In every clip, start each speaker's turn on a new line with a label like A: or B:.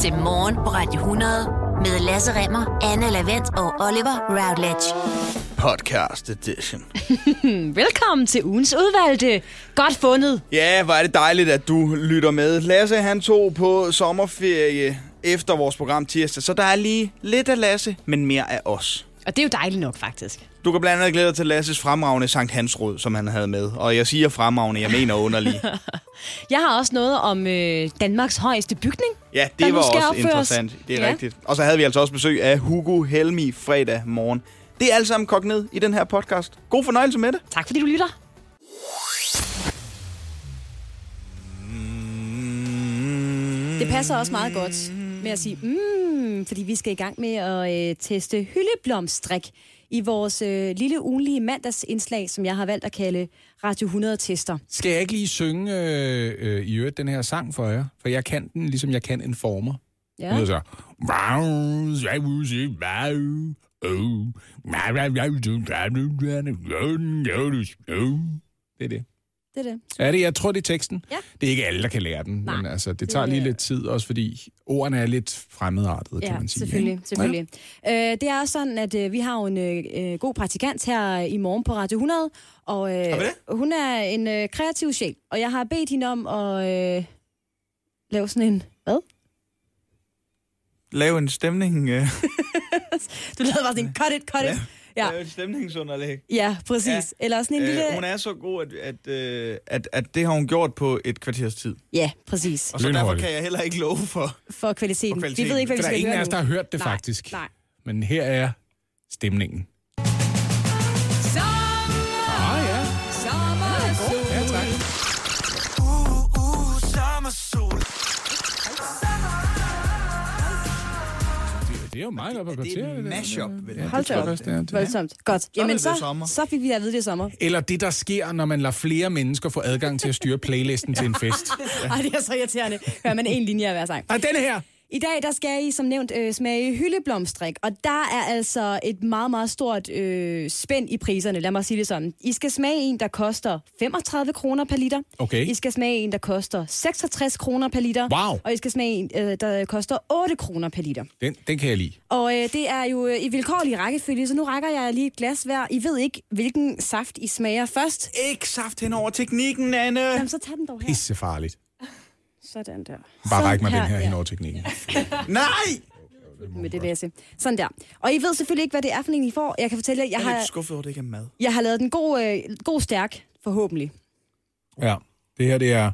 A: til Morgen på Radio 100 med Lasse Remmer, Anne Lavendt og Oliver Routledge.
B: Podcast edition.
C: Velkommen til ugens udvalgte. Godt fundet.
B: Ja, hvor er det dejligt, at du lytter med. Lasse, han tog på sommerferie efter vores program tirsdag, så der er lige lidt af Lasse, men mere af os.
C: Og det er jo dejligt nok, faktisk.
B: Du kan blandt andet glæde dig til Lasses fremragende Sankt Hans Råd, som han havde med. Og jeg siger fremragende, jeg mener underlig.
C: Jeg har også noget om øh, Danmarks højeste bygning.
B: Ja,
C: der
B: det
C: nu
B: var
C: skal
B: også
C: opføres.
B: interessant. Det er
C: Ja.
B: ja. rigtigt. Og så havde vi altså også besøg af Hugo Helmi fredag morgen. Det er alt sammen kogt ned i den her podcast. God fornøjelse med det.
C: Tak fordi du lytter.
D: Det passer også meget godt med at sige, mm, fordi vi skal i gang med at øh, teste hyldeblomstrik i vores øh, lille ugenlige mandagsindslag, som jeg har valgt at kalde Radio 100-tester.
E: Skal jeg ikke lige synge øh, øh, i øvrigt den her sang for jer? For jeg kan den, ligesom jeg kan en former. Ja.
D: Ja.
E: Det så... Oh, Det er det.
D: Det er det.
E: Er det? Jeg tror, det er teksten.
D: Ja.
E: Det er ikke alle, der kan lære den, Nej, men altså, det tager
D: det-
E: lige lidt tid, også fordi ordene er lidt fremmedartede, kan man sige.
D: selvfølgelig.
E: ikke?
D: selvfølgelig. Ja. Øh, det er også sådan, at øh, vi har jo en øh, øh, god praktikant her i morgen på Radio 100, og øh, hun er en øh, kreativ sjæl, og jeg har bedt hende om at øh, lave sådan en... Hvad?
B: Lav en stemning. Øh,
D: Du lavede bare sådan en cut it, cut it. Ja,
B: en stemningsunderlæg.
D: ja præcis. Ja. Eller sådan en lille...
B: Øh, hun er så god, at, at, øh, at, at det har hun gjort på et kvarters tid.
D: Ja, præcis.
B: Og så derfor
E: Lynhurtigt.
B: kan jeg heller ikke love for.
D: For kvaliteten.
B: For kvaliteten.
D: Vi ved ikke, hvad vi
E: For der er
D: skal
E: ingen
D: høre
E: af os,
D: nu.
E: der har hørt det
D: nej,
E: faktisk.
D: Nej.
E: Men her er stemningen. Ah, ja. Ja, tak. Det- Det er jo meget op at gå til.
B: Det er
E: det
B: et
E: der.
B: mashup, vel?
E: Ja,
D: Hold
E: det tror jeg
D: da op.
E: også, det er. Det-
D: Voldsomt. Godt.
B: er
D: Jamen,
B: det
D: så,
B: blevet sommer.
D: så fik vi at vide det er sommer.
E: Eller det, der sker, når man lader flere mennesker få adgang til at styre playlisten til en fest.
D: Ej, det er så irriterende. Hører man en linje af hver sang.
E: Og denne her!
D: I dag, der skal I som nævnt øh, smage hyldeblomstrik, og der er altså et meget, meget stort øh, spænd i priserne. Lad mig sige det sådan. I skal smage en, der koster 35 kroner per liter.
E: Okay.
D: I skal smage en, der koster 66 kroner per liter.
E: Wow.
D: Og I skal smage en, øh, der koster 8 kroner per liter.
E: Den, den kan jeg lide.
D: Og øh, det er jo øh, i vilkårlig rækkefølge, så nu rækker jeg lige et glas hver. I ved ikke, hvilken saft I smager først.
B: Ikke saft hen over teknikken, Anne.
D: Jamen, så tag den dog her.
E: Pissefarligt.
D: Sådan der.
E: Bare
D: Sådan
E: ræk mig den her
D: ja.
E: hen over teknikken.
B: Nej!
D: Med det læse. Sådan der. Og I ved selvfølgelig ikke, hvad det er for en, I får. Jeg kan fortælle jer, jeg
B: Jeg er lidt
D: har,
B: skuffet over, at det ikke er mad.
D: jeg har lavet den god, øh, god stærk, forhåbentlig.
E: Ja, det her, det er...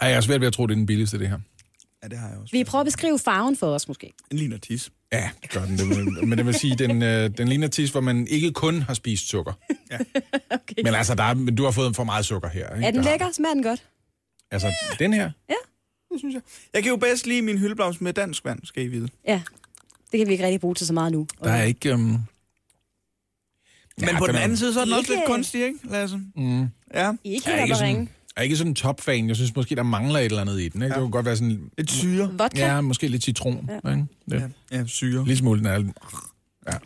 E: Ej, jeg har svært ved at tro, det er den billigste, det her.
B: Ja, det har jeg også.
D: Vi prøver at beskrive farven for os, måske.
B: Den ligner tis.
E: Ja, det gør den. Det vil- Men det vil sige, den, øh, den ligner tis, hvor man ikke kun har spist sukker.
D: Okay.
E: Men altså, der er, men du har fået for meget sukker her. Ikke?
D: Er den
E: Der-
D: lækker? Smager den godt?
E: Altså, den her?
B: Det synes jeg. Jeg kan jo bedst lide min hyldeblomst med dansk vand, skal I vide.
D: Ja. Det kan vi ikke rigtig bruge til så meget nu.
E: Der er ikke... Øhm...
B: Men på den anden side, så er den også
D: Ikke-
B: lidt kunstig, ikke, Lasse?
E: Mm.
B: Ja.
D: I er ikke
E: Jeg er
D: helt
E: ikke
D: oppe at
E: sådan,
D: ringe.
E: jeg er ikke sådan en topfan. Jeg synes måske, der mangler et eller andet i den. Ikke? Ja. Det kunne godt være sådan...
B: Et syre.
D: Vodka?
E: Ja, måske lidt citron. Ja. Ikke? Ja.
B: Ja, ja syre.
E: Lidt smule, den er...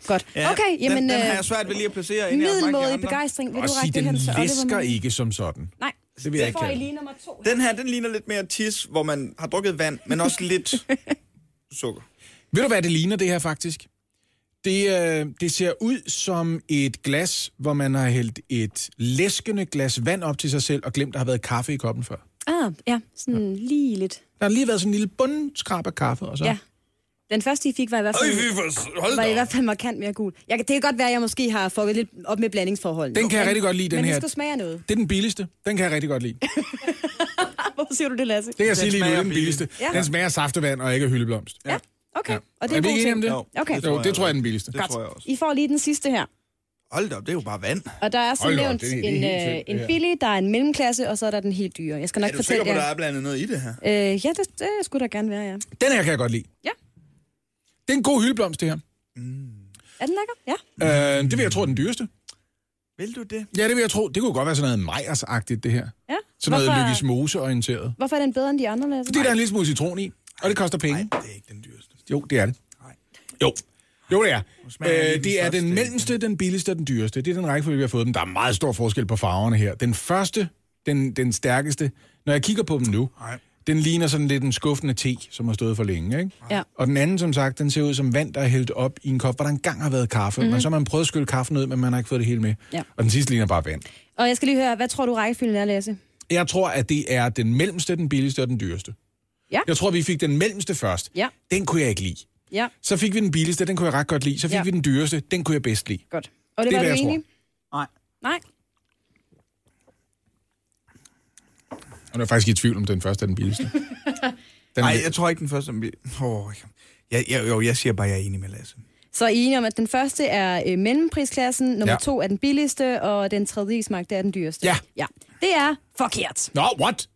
D: Godt.
B: Ja,
D: Okay, jamen...
B: den, den har
D: øh,
B: jeg svært ved lige at placere. inden jeg har smagt de
D: Middelmådig
B: andre.
D: begejstring. Vil
E: Og
D: du
E: sige,
D: række det
E: den
D: hen til
E: væsker
D: Oliver?
E: ikke som sådan.
D: Nej,
E: Det vil jeg
D: det
E: ikke
D: får I
E: kalde.
D: lige nummer to.
B: Den her, den ligner lidt mere tis, hvor man har drukket vand, men også lidt sukker.
E: Ved du, hvad det ligner, det her faktisk? Det, øh, det ser ud som et glas, hvor man har hældt et læskende glas vand op til sig selv og glemt, der har været kaffe i koppen før.
D: Ah, ja. Sådan lige lidt.
E: Der har lige været sådan en lille bundskrab af kaffe, og så...
D: Ja. Den første, I fik, var i hvert fald,
B: Hold
D: var i hvert fald markant mere gul. Jeg, kan- det kan godt være, at jeg måske har fucket lidt op med blandingsforholdene.
E: Den kan jeg rigtig godt lide, den
D: Men
E: her.
D: vi skal smage af noget.
E: Det er den billigste. Den kan jeg rigtig godt lide. Det
D: Hvorfor siger du det, Lasse?
E: kan jeg sige lige nu, det
B: smager
E: er den billigste.
D: Ja.
E: Den smager af saftevand og ikke af hyldeblomst.
D: Ja, okay. Og det er,
E: er
D: en
E: vi
D: god
E: ikke enige om
D: ting.
E: det?
D: Okay.
B: Det tror
E: Jo,
B: jeg
E: det tror jeg er
B: også.
E: den billigste.
B: Det tror jeg også.
D: I får lige den sidste her.
B: Hold da op, det er jo bare vand.
D: Og der er som
E: Hold da op,
D: nævnt
E: det er- det er
D: en,
E: helt
D: øh,
E: sygt, det
D: en
E: her.
D: billig, der er en mellemklasse, og så er der den helt dyre. Jeg skal nok
B: Er du sikker
D: fortælle
B: på, at der
D: jer.
B: er blandet noget i det her?
D: Øh, ja, det, det skulle der gerne være, ja.
E: Den her kan jeg godt lide.
D: Ja.
E: Det er en god hyldeblomst, det her.
D: Er den lækker? Ja.
B: Mm.
E: Øh, det vil jeg tro er den dyreste.
B: Vil du det?
E: Ja, det vil jeg tro. Det kunne godt være sådan noget Meyers-agtigt, det her.
D: ja.
E: Sådan noget Lykkes Mose-orienteret.
D: hvorfor er den bedre end de andre, Lasse?
E: Fordi der er en lille smule citron i, og det koster penge.
B: Altså, Nej, det er ikke den dyreste.
E: Jo, det er det. Jo. Jo, det er.
B: smager jeg lige
E: Øh,
B: den
E: det er
B: første
E: den
B: igen.
E: mellemste, den billigste og den dyreste. Det er den rækkefølge, vi har fået dem. Der er meget stor forskel på farverne her. Den første, den, den stærkeste, når jeg kigger på dem nu,
B: Nej.
E: Den ligner sådan lidt en skuffende te, som har stået for længe, ikke?
D: Ja.
E: Og den anden, som sagt, den ser ud som vand, der er hældt op i en kop, hvor der engang har været kaffe.
B: Mhm.
E: Mm-hmm. Men så har man prøvet at skylle kaffen ud, men man har ikke fået det hele med.
D: Ja.
E: Og den sidste ligner bare vand.
D: Og jeg skal lige høre, hvad tror du rækkefølgen er, Lasse?
E: Jeg tror, at det er den mellemste, den billigste og den dyreste.
D: Ja.
E: Jeg tror, vi fik den mellemste først.
D: Ja.
E: Den kunne jeg ikke lide.
D: Ja,
E: Så fik vi den billigste, den kunne jeg ret godt lide. Så fik
D: Ja.
E: vi den dyreste, den kunne jeg bedst lide.
D: godt. Og det,
E: Det er,
D: var
E: hvad
D: du
E: jeg
D: enig?
B: Nej.
D: Nej.
E: Og nu er jeg faktisk i tvivl om, den første er den billigste. Den
B: Nej, jeg tror ikke den første. men- Åh, jeg, jeg, jo, jeg siger bare, at jeg er enig med Lasse.
D: Så er I enige om, at den første er øh, mellemprisklassen, nummer
E: Ja.
D: ja. to er den billigste, og den tredje i smagte er den dyreste.
E: Ja.
D: ja. Det er forkert.
E: Nå, what?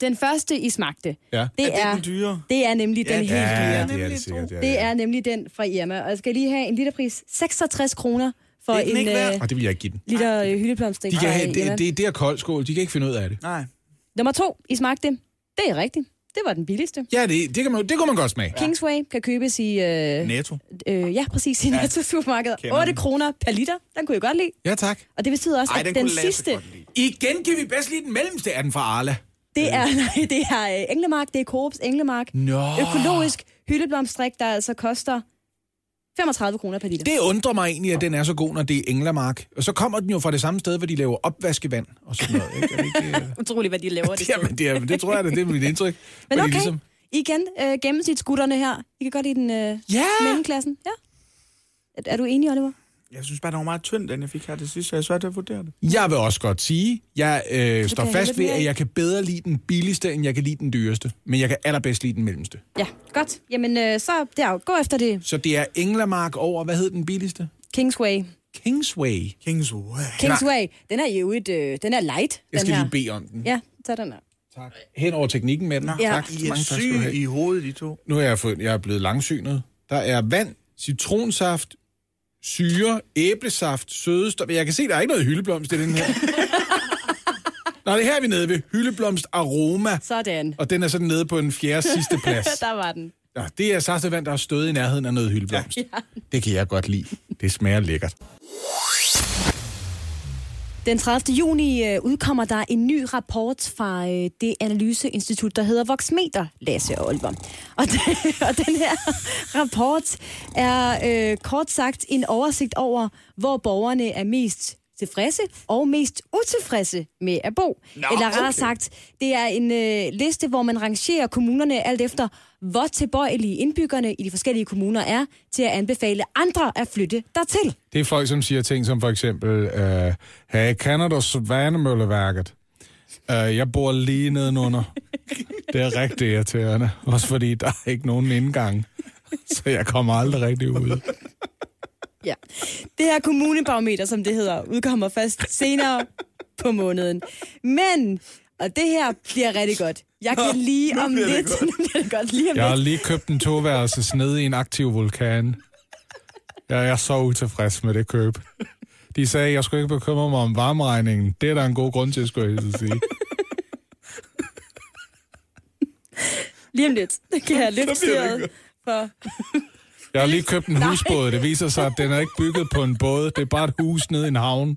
D: Den første i smagte,
E: Ja.
D: det,
B: Er det
D: er,
B: den dyre?
D: det er nemlig
B: Ja,
D: den
B: det
D: helt
B: er
D: dyre.
E: Ja,
B: det
E: det er
B: nemlig
E: det sikkert. Ja,
D: Det
E: ja.
D: er nemlig den fra Irma. Og jeg skal lige have en literpris. 66 kroner for
B: Det er den
D: en
B: ikke værd.
D: øh,
E: Og det vil jeg ikke give den.
D: liter øh, hyldeblomstrik.
E: De kan
D: fra
E: have,
D: Irma.
E: det, det, det er koldskål. De kan ikke finde ud af det.
B: Nej.
D: Nummer to, I smagte. Det er rigtigt. Det var den billigste.
E: Ja, det, det, kan man, det kunne man godt smage.
D: Kingsway kan købes i, øh,
B: Netto.
D: øh, ja, præcis, i Netto-supermarkedet.
B: Kender
D: 8
B: den.
D: kroner per liter. Den kunne jeg godt lide.
E: Ja, tak.
D: Og det betyder også,
B: Ej,
D: at
B: den,
D: den,
B: kunne Lasse
D: sidste,
B: godt lide.
E: Igen kan vi bedst lide den mellemste af den fra Arla.
D: det er, nej, det er øh, Englemark, det er Coops Englemark.
E: Nå.
D: Økologisk hyldeblomstrik, der altså koster 35 kroner per liter.
E: Det undrer mig egentlig, at den er så god, når det er Englamark. Og så kommer den jo fra det samme sted, hvor de laver opvaskevand og sådan noget. Ikke? Er det ikke, øh?
D: Utroligt, hvad de laver det.
E: Jamen, det, er, det tror jeg da, det er mit indtryk. Hvor
D: Men
E: de
D: okay, ligesom... igen, øh, gennemsnitsgutterne her. I kan godt lide den øh,
E: Ja!
D: mellemklassen. Ja. Er, er du enig, Oliver?
B: Jeg synes bare, den var meget tynd, den jeg fik her til sidst, så jeg er svært ved at vurdere det.
E: Jeg vil også godt sige, jeg øh, står
D: jeg
E: fast
D: lidt
E: ved,
D: mere
E: at
D: i.
E: jeg kan bedre lide den billigste, end jeg kan lide den dyreste. Men jeg kan allerbedst lide den mellemste.
D: Ja, godt. Jamen, øh, så der, gå efter det.
E: Så det er Englamark over, hvad hed den billigste?
D: Kingsway.
E: Kingsway.
B: Kings Way.
D: Kingsway, den er jo et, øh, den er light,
E: Jeg
D: den
E: skal
D: her.
E: lige bede om den.
D: Ja, så den er.
E: Tak. Hen over teknikken med den.
D: Ja.
E: Tak.
B: I er
E: Mange tak skal du
B: syge
E: have.
B: i hovedet, de to.
E: Nu er jeg, fået, jeg er blevet langsynet. Der er vand, citronsaft, syre, æblesaft, sødestof. Jeg kan se, der er ikke noget hyldeblomst i den her. Nå, det her er vi nede ved. Hyldeblomst aroma.
D: Sådan.
E: Og den er sådan nede på en fjerde sidste plads.
D: Der var den.
E: Nå, det er saftevand, der har stået i nærheden af noget hyldeblomst. Ja. Det kan jeg godt lide. Det smager lækkert.
D: Den 30. juni øh, udkommer der en ny rapport fra øh, det analyseinstitut, der hedder Voxmeter, Lasse og Oliver. Og, den- og den her rapport er øh, kort sagt en oversigt over, hvor borgerne er mest tilfredse og mest utilfredse med at bo. Nå, Eller rettere okay. sagt, det er en øh, liste, hvor man rangerer kommunerne alt efter, hvor tilbøjelige indbyggerne i de forskellige kommuner er til at anbefale andre at flytte dertil.
E: Det er folk, som siger ting som for eksempel, øh, hey, kender du Svanemølleværket? Uh, jeg bor lige nedenunder. Det er rigtig irriterende. Også fordi der er ikke nogen indgang. Så jeg kommer aldrig rigtig ud.
D: Ja. Det her kommunebarometer, som det hedder, udkommer først senere på måneden. Men, og det her bliver rigtig godt. Jeg kan lige om
B: bliver det
D: lidt...
B: godt.
D: nu bliver det godt lige om
E: Jeg har
D: lidt.
E: lige købt en toværelses nede i en aktiv vulkan. Jeg er så utilfreds med det køb. De sagde, at jeg skulle ikke bekymre mig om varmeregningen. Det er der en god grund til, skulle jeg hilse at sige.
D: Lige om lidt. Det kan jeg løfte
B: bliver det
D: styret
B: godt.
D: for.
E: Jeg har lige købt en husbåd. Det viser sig, at den er ikke bygget på en båd. Det er bare et hus nede i en havn.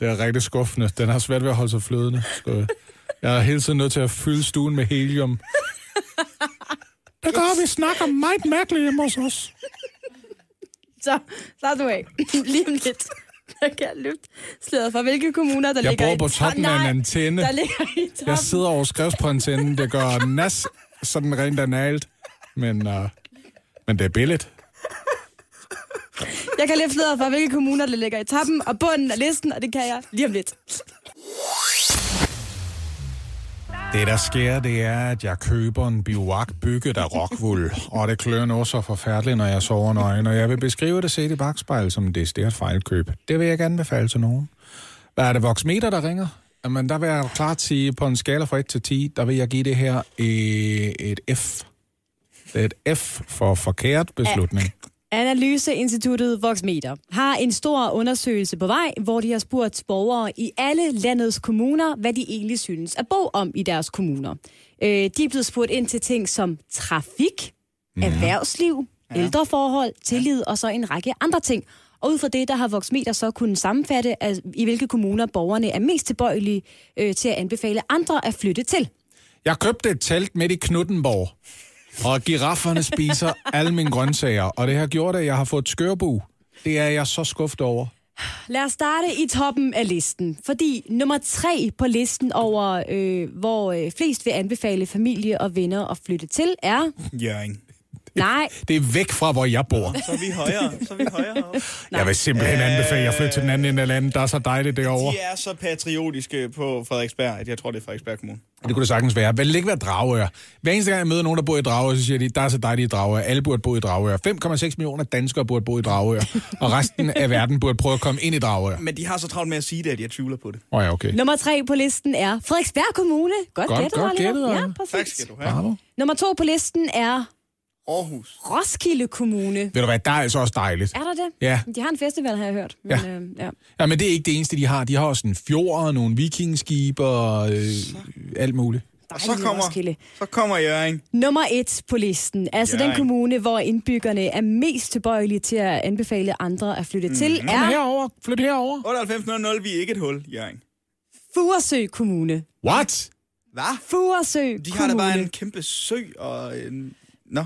E: Det er rigtig skuffende. Den har svært ved at holde sig flydende. Så Jeg er hele tiden nødt til at fylde stuen med helium. Der går vi snakker meget mærkeligt hjemme hos os.
D: Så, slap nu af. Lige om lidt. Der kan jeg løfte sløret for, hvilke kommuner, der
E: Jeg
D: ligger...
E: bor
D: i
E: på toppen
D: top-
E: af en
D: Nej,
E: antenne.
D: der ligger i toppen.
E: Jeg sidder over skriftspåantennen. Det gør nas sådan rent analt. Men, uh, men det er billigt.
D: Jeg kan løfte sløret for, hvilke kommuner, der ligger i toppen og bunden af listen, og det kan jeg lige om lidt.
E: Det, der sker, det er, at jeg køber en biwak bygget af rockwool, og det klør nu så forfærdeligt, når jeg sover nøgen, og jeg vil beskrive det set i bagspejl som det stærkt fejlkøb. Det vil jeg ikke anbefale til nogen. Hvad er det, voksmeter, der ringer? Jamen, der vil jeg klart sige, på en skala fra 1 til 10, der vil jeg give det her øh, et F. Det er et F for forkert beslutning.
D: Analyseinstituttet Voxmeter har en stor undersøgelse på vej, hvor de har spurgt borgere i alle landets kommuner, hvad de egentlig synes at bo om i deres kommuner. Øh, de er blevet spurgt ind til ting som trafik, erhvervsliv, ældreforhold, tillid og så en række andre ting. Og ud fra det, der har Voxmeter så kunnet sammenfatte, at, i hvilke kommuner borgerne er mest tilbøjelige øh, til at anbefale andre at flytte til.
E: Jeg købte et telt midt i Knuttenborg, og girafferne spiser alle mine grøntsager, og det har gjort, at jeg har fået skørbu. Det er jeg så skuffet over.
D: Lad os starte i toppen af listen, fordi nummer tre på listen over, øh, hvor øh, flest vil anbefale familie og venner at flytte til, er...
B: Jørgen.
D: Nej,
E: Det er væk fra, hvor jeg bor.
B: Så er vi højere. Så er vi højere. heroppe.
E: Jeg vil simpelthen
D: Øh.
E: anbefale, at jeg flytter til den anden ende af landet. Der er så dejligt derovre.
B: De er så patriotiske på Frederiksberg, at jeg tror, det er Frederiksberg Kommune.
E: Det kunne det sagtens være. Vel det ikke være Dragør. Hver eneste gang, jeg møder nogen, der bor i Dragør, så siger de, der er så dejlige Dragør. Alle burde bo i Dragør. 5,6 millioner danskere burde bo i Dragør. Og resten af verden burde prøve at komme ind i Dragør.
B: Men de har så travlt med at sige det, at jeg tvivler på det.
E: Åh oh, ja, okay.
D: nummer tre på listen er Frederiksberg Kommune. Godt,
E: Godt-
D: gættet,
E: godt
D: Oliver.
E: gættet,
D: Ja,
E: Oliver.
D: præcis.
B: Tak skal du have.
E: Bravo.
D: Nummer to på listen er
B: Aarhus.
D: Roskilde Kommune.
E: Ved du hvad, der er altså også dejligt.
D: Er der det?
E: Ja.
D: De har en festival, har jeg hørt. Men,
E: Ja.
D: ja. Øh, ja.
E: ja, men det er ikke det eneste, de har. De har også en fjord og nogle vikingskibe og øh, alt muligt.
B: Og så
D: Dejlig
B: kommer,
D: Roskilde.
B: så kommer Jørgen.
D: Nummer et på listen, altså
B: Hjørring.
D: den kommune, hvor indbyggerne er mest tilbøjelige til at anbefale andre at flytte til,
B: Mhm.
E: Kom
D: er
E: herover. Flyt herover.
B: 98.00, vi er ikke et hul, Jørgen.
D: Furesø Kommune.
E: What?
B: Hvad?
D: Furesø
B: De har da
D: Kommune.
B: bare en kæmpe sø og en... Nå,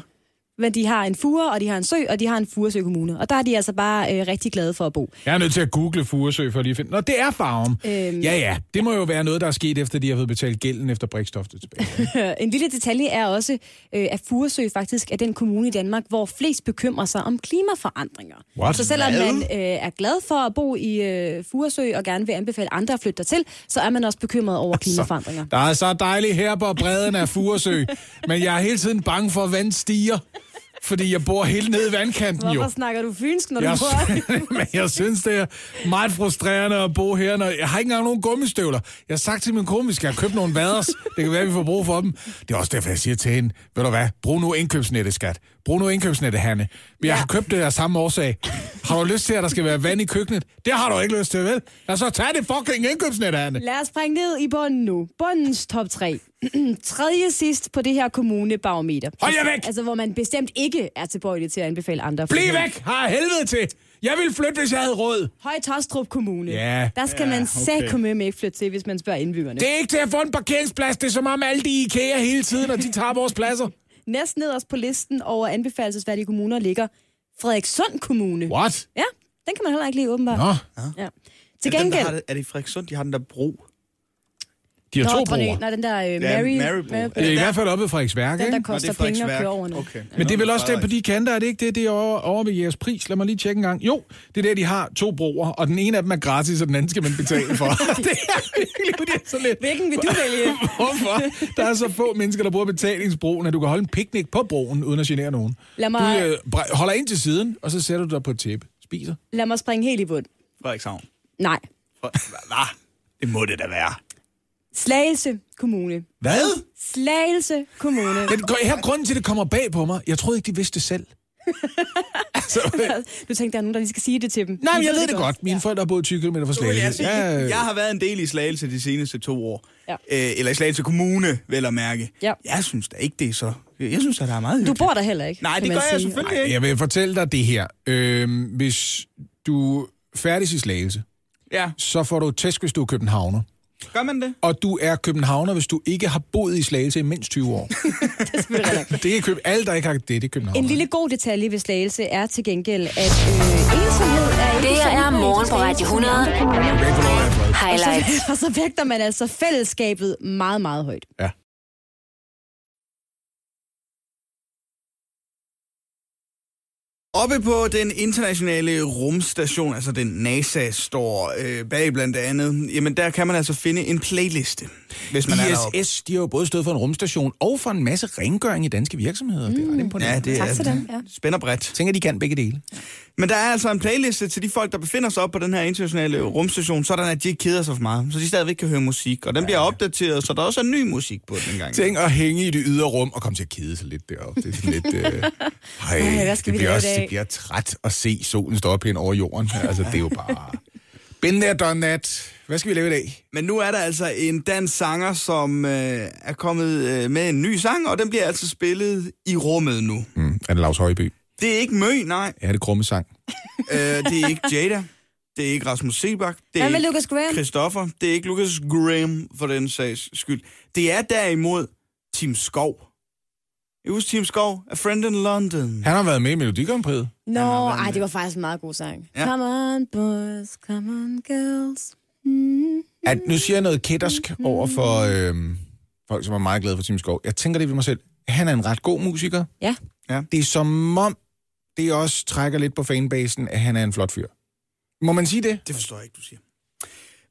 D: Men de har en fure, og de har en sø, og de har en Furesø Kommune. Og der er de altså bare øh, rigtig glade for at bo.
E: Jeg er nødt til at google Furesø for at lige at finde... Nå, det er Farum.
D: Øhm.
E: Ja, ja. Det må jo være noget, der er sket, efter de har fået betalt gælden efter Brikstoftet tilbage.
D: En lille detalje er også, øh, at Furesø faktisk er den kommune i Danmark, hvor flest bekymrer sig om klimaforandringer.
E: What?
D: Så selvom
B: Hvad?
D: man øh, er glad for at bo i øh, Furesø og gerne vil anbefale andre at flytte til, så er man også bekymret over
E: Altså.
D: klimaforandringer.
E: Der er så dejligt her på bredden af Furesø, men jeg er hele tiden bange for, at vand stiger, fordi jeg bor helt nede i vandkanten jo.
D: Hvorfor snakker du fynsk, når du
E: Jeg,
D: bor
E: men jeg synes, det er meget frustrerende at bo her. Når jeg har ikke engang nogen gummistøvler. Jeg har sagt til min kone, vi skal have købt nogle vaders. Det kan være, vi får brug for dem. Det er også derfor, jeg siger til hende, ved du hvad, brug nu indkøbsnettet, skat. Brug nu indkøbsnettet, Hanne. Men jeg har købt det af samme årsag. Har du lyst til, at der skal være vand i køkkenet? Det har du ikke lyst til, vel? Lad os så tage det fucking indkøbsnet, Hanne.
D: Lad os springe ned i bunden nu. Bundens top 3. Tredje sidst på det her kommunebarometer.
E: Hold jer væk!
D: Altså, hvor man bestemt ikke er tilbøjelig til at anbefale andre. at
E: Bliv
D: flytte.
E: væk! Har jeg helvede til! Jeg ville flytte, hvis jeg havde råd.
D: Høje Tostrup Kommune.
E: Ja.
D: Der skal man sætte med ikke flytte til, hvis man spørger indbyggerne.
E: Det er ikke til at få en parkeringsplads. Det er som om alle de i IKEA hele tiden, og de tager vores pladser.
D: Næst nederst på listen over anbefalesværdige kommuner ligger Frederikssund Kommune.
E: What?
D: Ja, den kan man heller ikke lide, åbenbart.
E: Nå,
D: Ja. Til
B: Er det dem, der
D: gengæld...
B: har det- Er det i Frederikssund, de har den der bro?
E: de har
D: Nå,
E: to
D: dronning-
E: broer.
D: Nej, den der øh,
B: Ja,
D: Mary...
B: Marybro.
D: Mary-
E: Det er i hvert fald oppe i Frederiksværk,
D: Den, der
E: ikke?
B: Nå, det
D: koster
B: er
D: penge at
B: Frederiksværk.
D: køre over nu.
B: Okay.
E: Men det er
B: Nå,
E: vel også der på
B: Frederik.
E: de kanter, er det ikke det, det er over, over ved jeres pris? Lad mig lige tjekke en gang. Jo, det er der, de har to broer, og den ene af dem er gratis, og den anden skal man betale for. det er virkelig det er så lidt.
D: Hvilken vil du vælge?
E: Hvorfor? Der er så få mennesker, der bruger betalingsbroen, at du kan holde en picnic på broen, uden at genere nogen.
D: Lad mig-
E: Du øh, bre- holder ind til siden, og så sætter du dig på et tæppe. Spiser.
D: Lad mig springe helt i bund.
B: Frederikshavn.
D: Nej.
B: Hvad? Det må det da være.
D: Slagelse Kommune.
E: Hvad?
D: Slagelse Kommune.
E: Men gr- her er grunden til, at det kommer bag på mig. Jeg troede ikke, de vidste det selv. altså,
D: Nu tænkte jeg, der er nogen, der lige skal sige det til dem.
E: nej, men jeg ved det godt. Mine forældre har boet 20 km fra
B: Vil jeg,
E: Slagelse.
B: sige,
E: Ja,
B: jeg
E: ja.
B: har været en del i Slagelse de seneste to år.
D: altså. Ja.
B: Øh, eller i Slagelse Kommune, vel at mærke.
D: Ja.
B: Jeg synes da ikke, det er så... Jeg synes, at der er meget
D: Du
B: hyggeligt.
D: bor der heller ikke.
B: Nej,
D: kan
B: det
D: man
B: gør jeg
D: sige.
B: selvfølgelig
E: Ej,
B: ikke.
E: jeg vil fortælle dig det her. Øhm, hvis du færdes i Slagelse,
B: Ja.
E: så får du tæsk, hvis du er københavner.
B: Gør man det?
E: Og du er københavner, hvis du ikke har boget i Slagelse i mindst 20 år. det er køb... Alle, der ikke har det, det er københavner.
D: En lille god detalje ved Slagelse er til gengæld, at øh, ensomhed er ikke
A: Det
D: så
A: er
D: udbredt i
A: morgen på
D: Slagelse.
A: Radio 100.
D: Og
A: Highlights.
D: så, og så vægter man altså fællesskabet meget, meget højt.
E: Ja.
B: Oppe på den internationale rumstation, altså den NASA står øh, bag blandt andet, jamen der kan man altså finde en playliste, hvis man er deroppe.
E: ISS, de har jo både stået for en rumstation og for en masse rengøring i danske virksomheder. Mm. Det er ret imponerende.
B: Ja, det
D: Tak til dem,
B: er
D: ja.
B: spænder bredt.
E: tænker, de kan begge dele.
B: Men der er altså en playliste til de folk, der befinder sig oppe på den her internationale rumstation, sådan at de ikke keder sig for meget, så de stadigvæk kan høre musik. Og den bliver opdateret, så der også er ny musik på den gang.
E: Tænk at hænge i det ydre rum og komme til at kede sig lidt deroppe. Det er sådan lidt... Øh, hej,
D: hvad skal
E: det,
D: vi
E: bliver
D: lave i
E: også,
D: dag?
E: det bliver træt at se solen stå op hen over jorden. Altså, det er jo bare... Been there, done that. Hvad skal vi lave i dag?
B: Men nu er der altså en dansk sanger, som øh, er kommet øh, med en ny sang, og den bliver altså spillet i rummet nu.
E: Mm, er det Lars Højby?
B: Det er ikke Mø, nej.
E: Ja, det er krumme sang.
B: Øh, det er ikke Jada. Det er ikke Rasmus Sebak. Det er
D: Hvad med
B: ikke
D: Lucas Graham?
B: Christoffer. Det er ikke Lucas Graham, for den sags skyld. Det er derimod Tim Skov. Jeg husker Tim Skov, A Friend in London.
E: Han har været med i Melodi Grand Prix.
D: Nå,
B: har været
D: ej,
B: med.
D: det var faktisk en meget god sang.
B: Ja.
D: Ja. Come on, boys, come on, girls. Mm.
E: At nu siger jeg noget kættersk over for øhm, folk, som er meget glade for Tim Skov. Jeg tænker det ved mig selv. Han er en ret god musiker.
D: Ja.
B: Ja.
E: Det er som om, det også trækker lidt på fanbasen, at han er en flot fyr. Må man sige det?
B: Det forstår jeg ikke, du siger.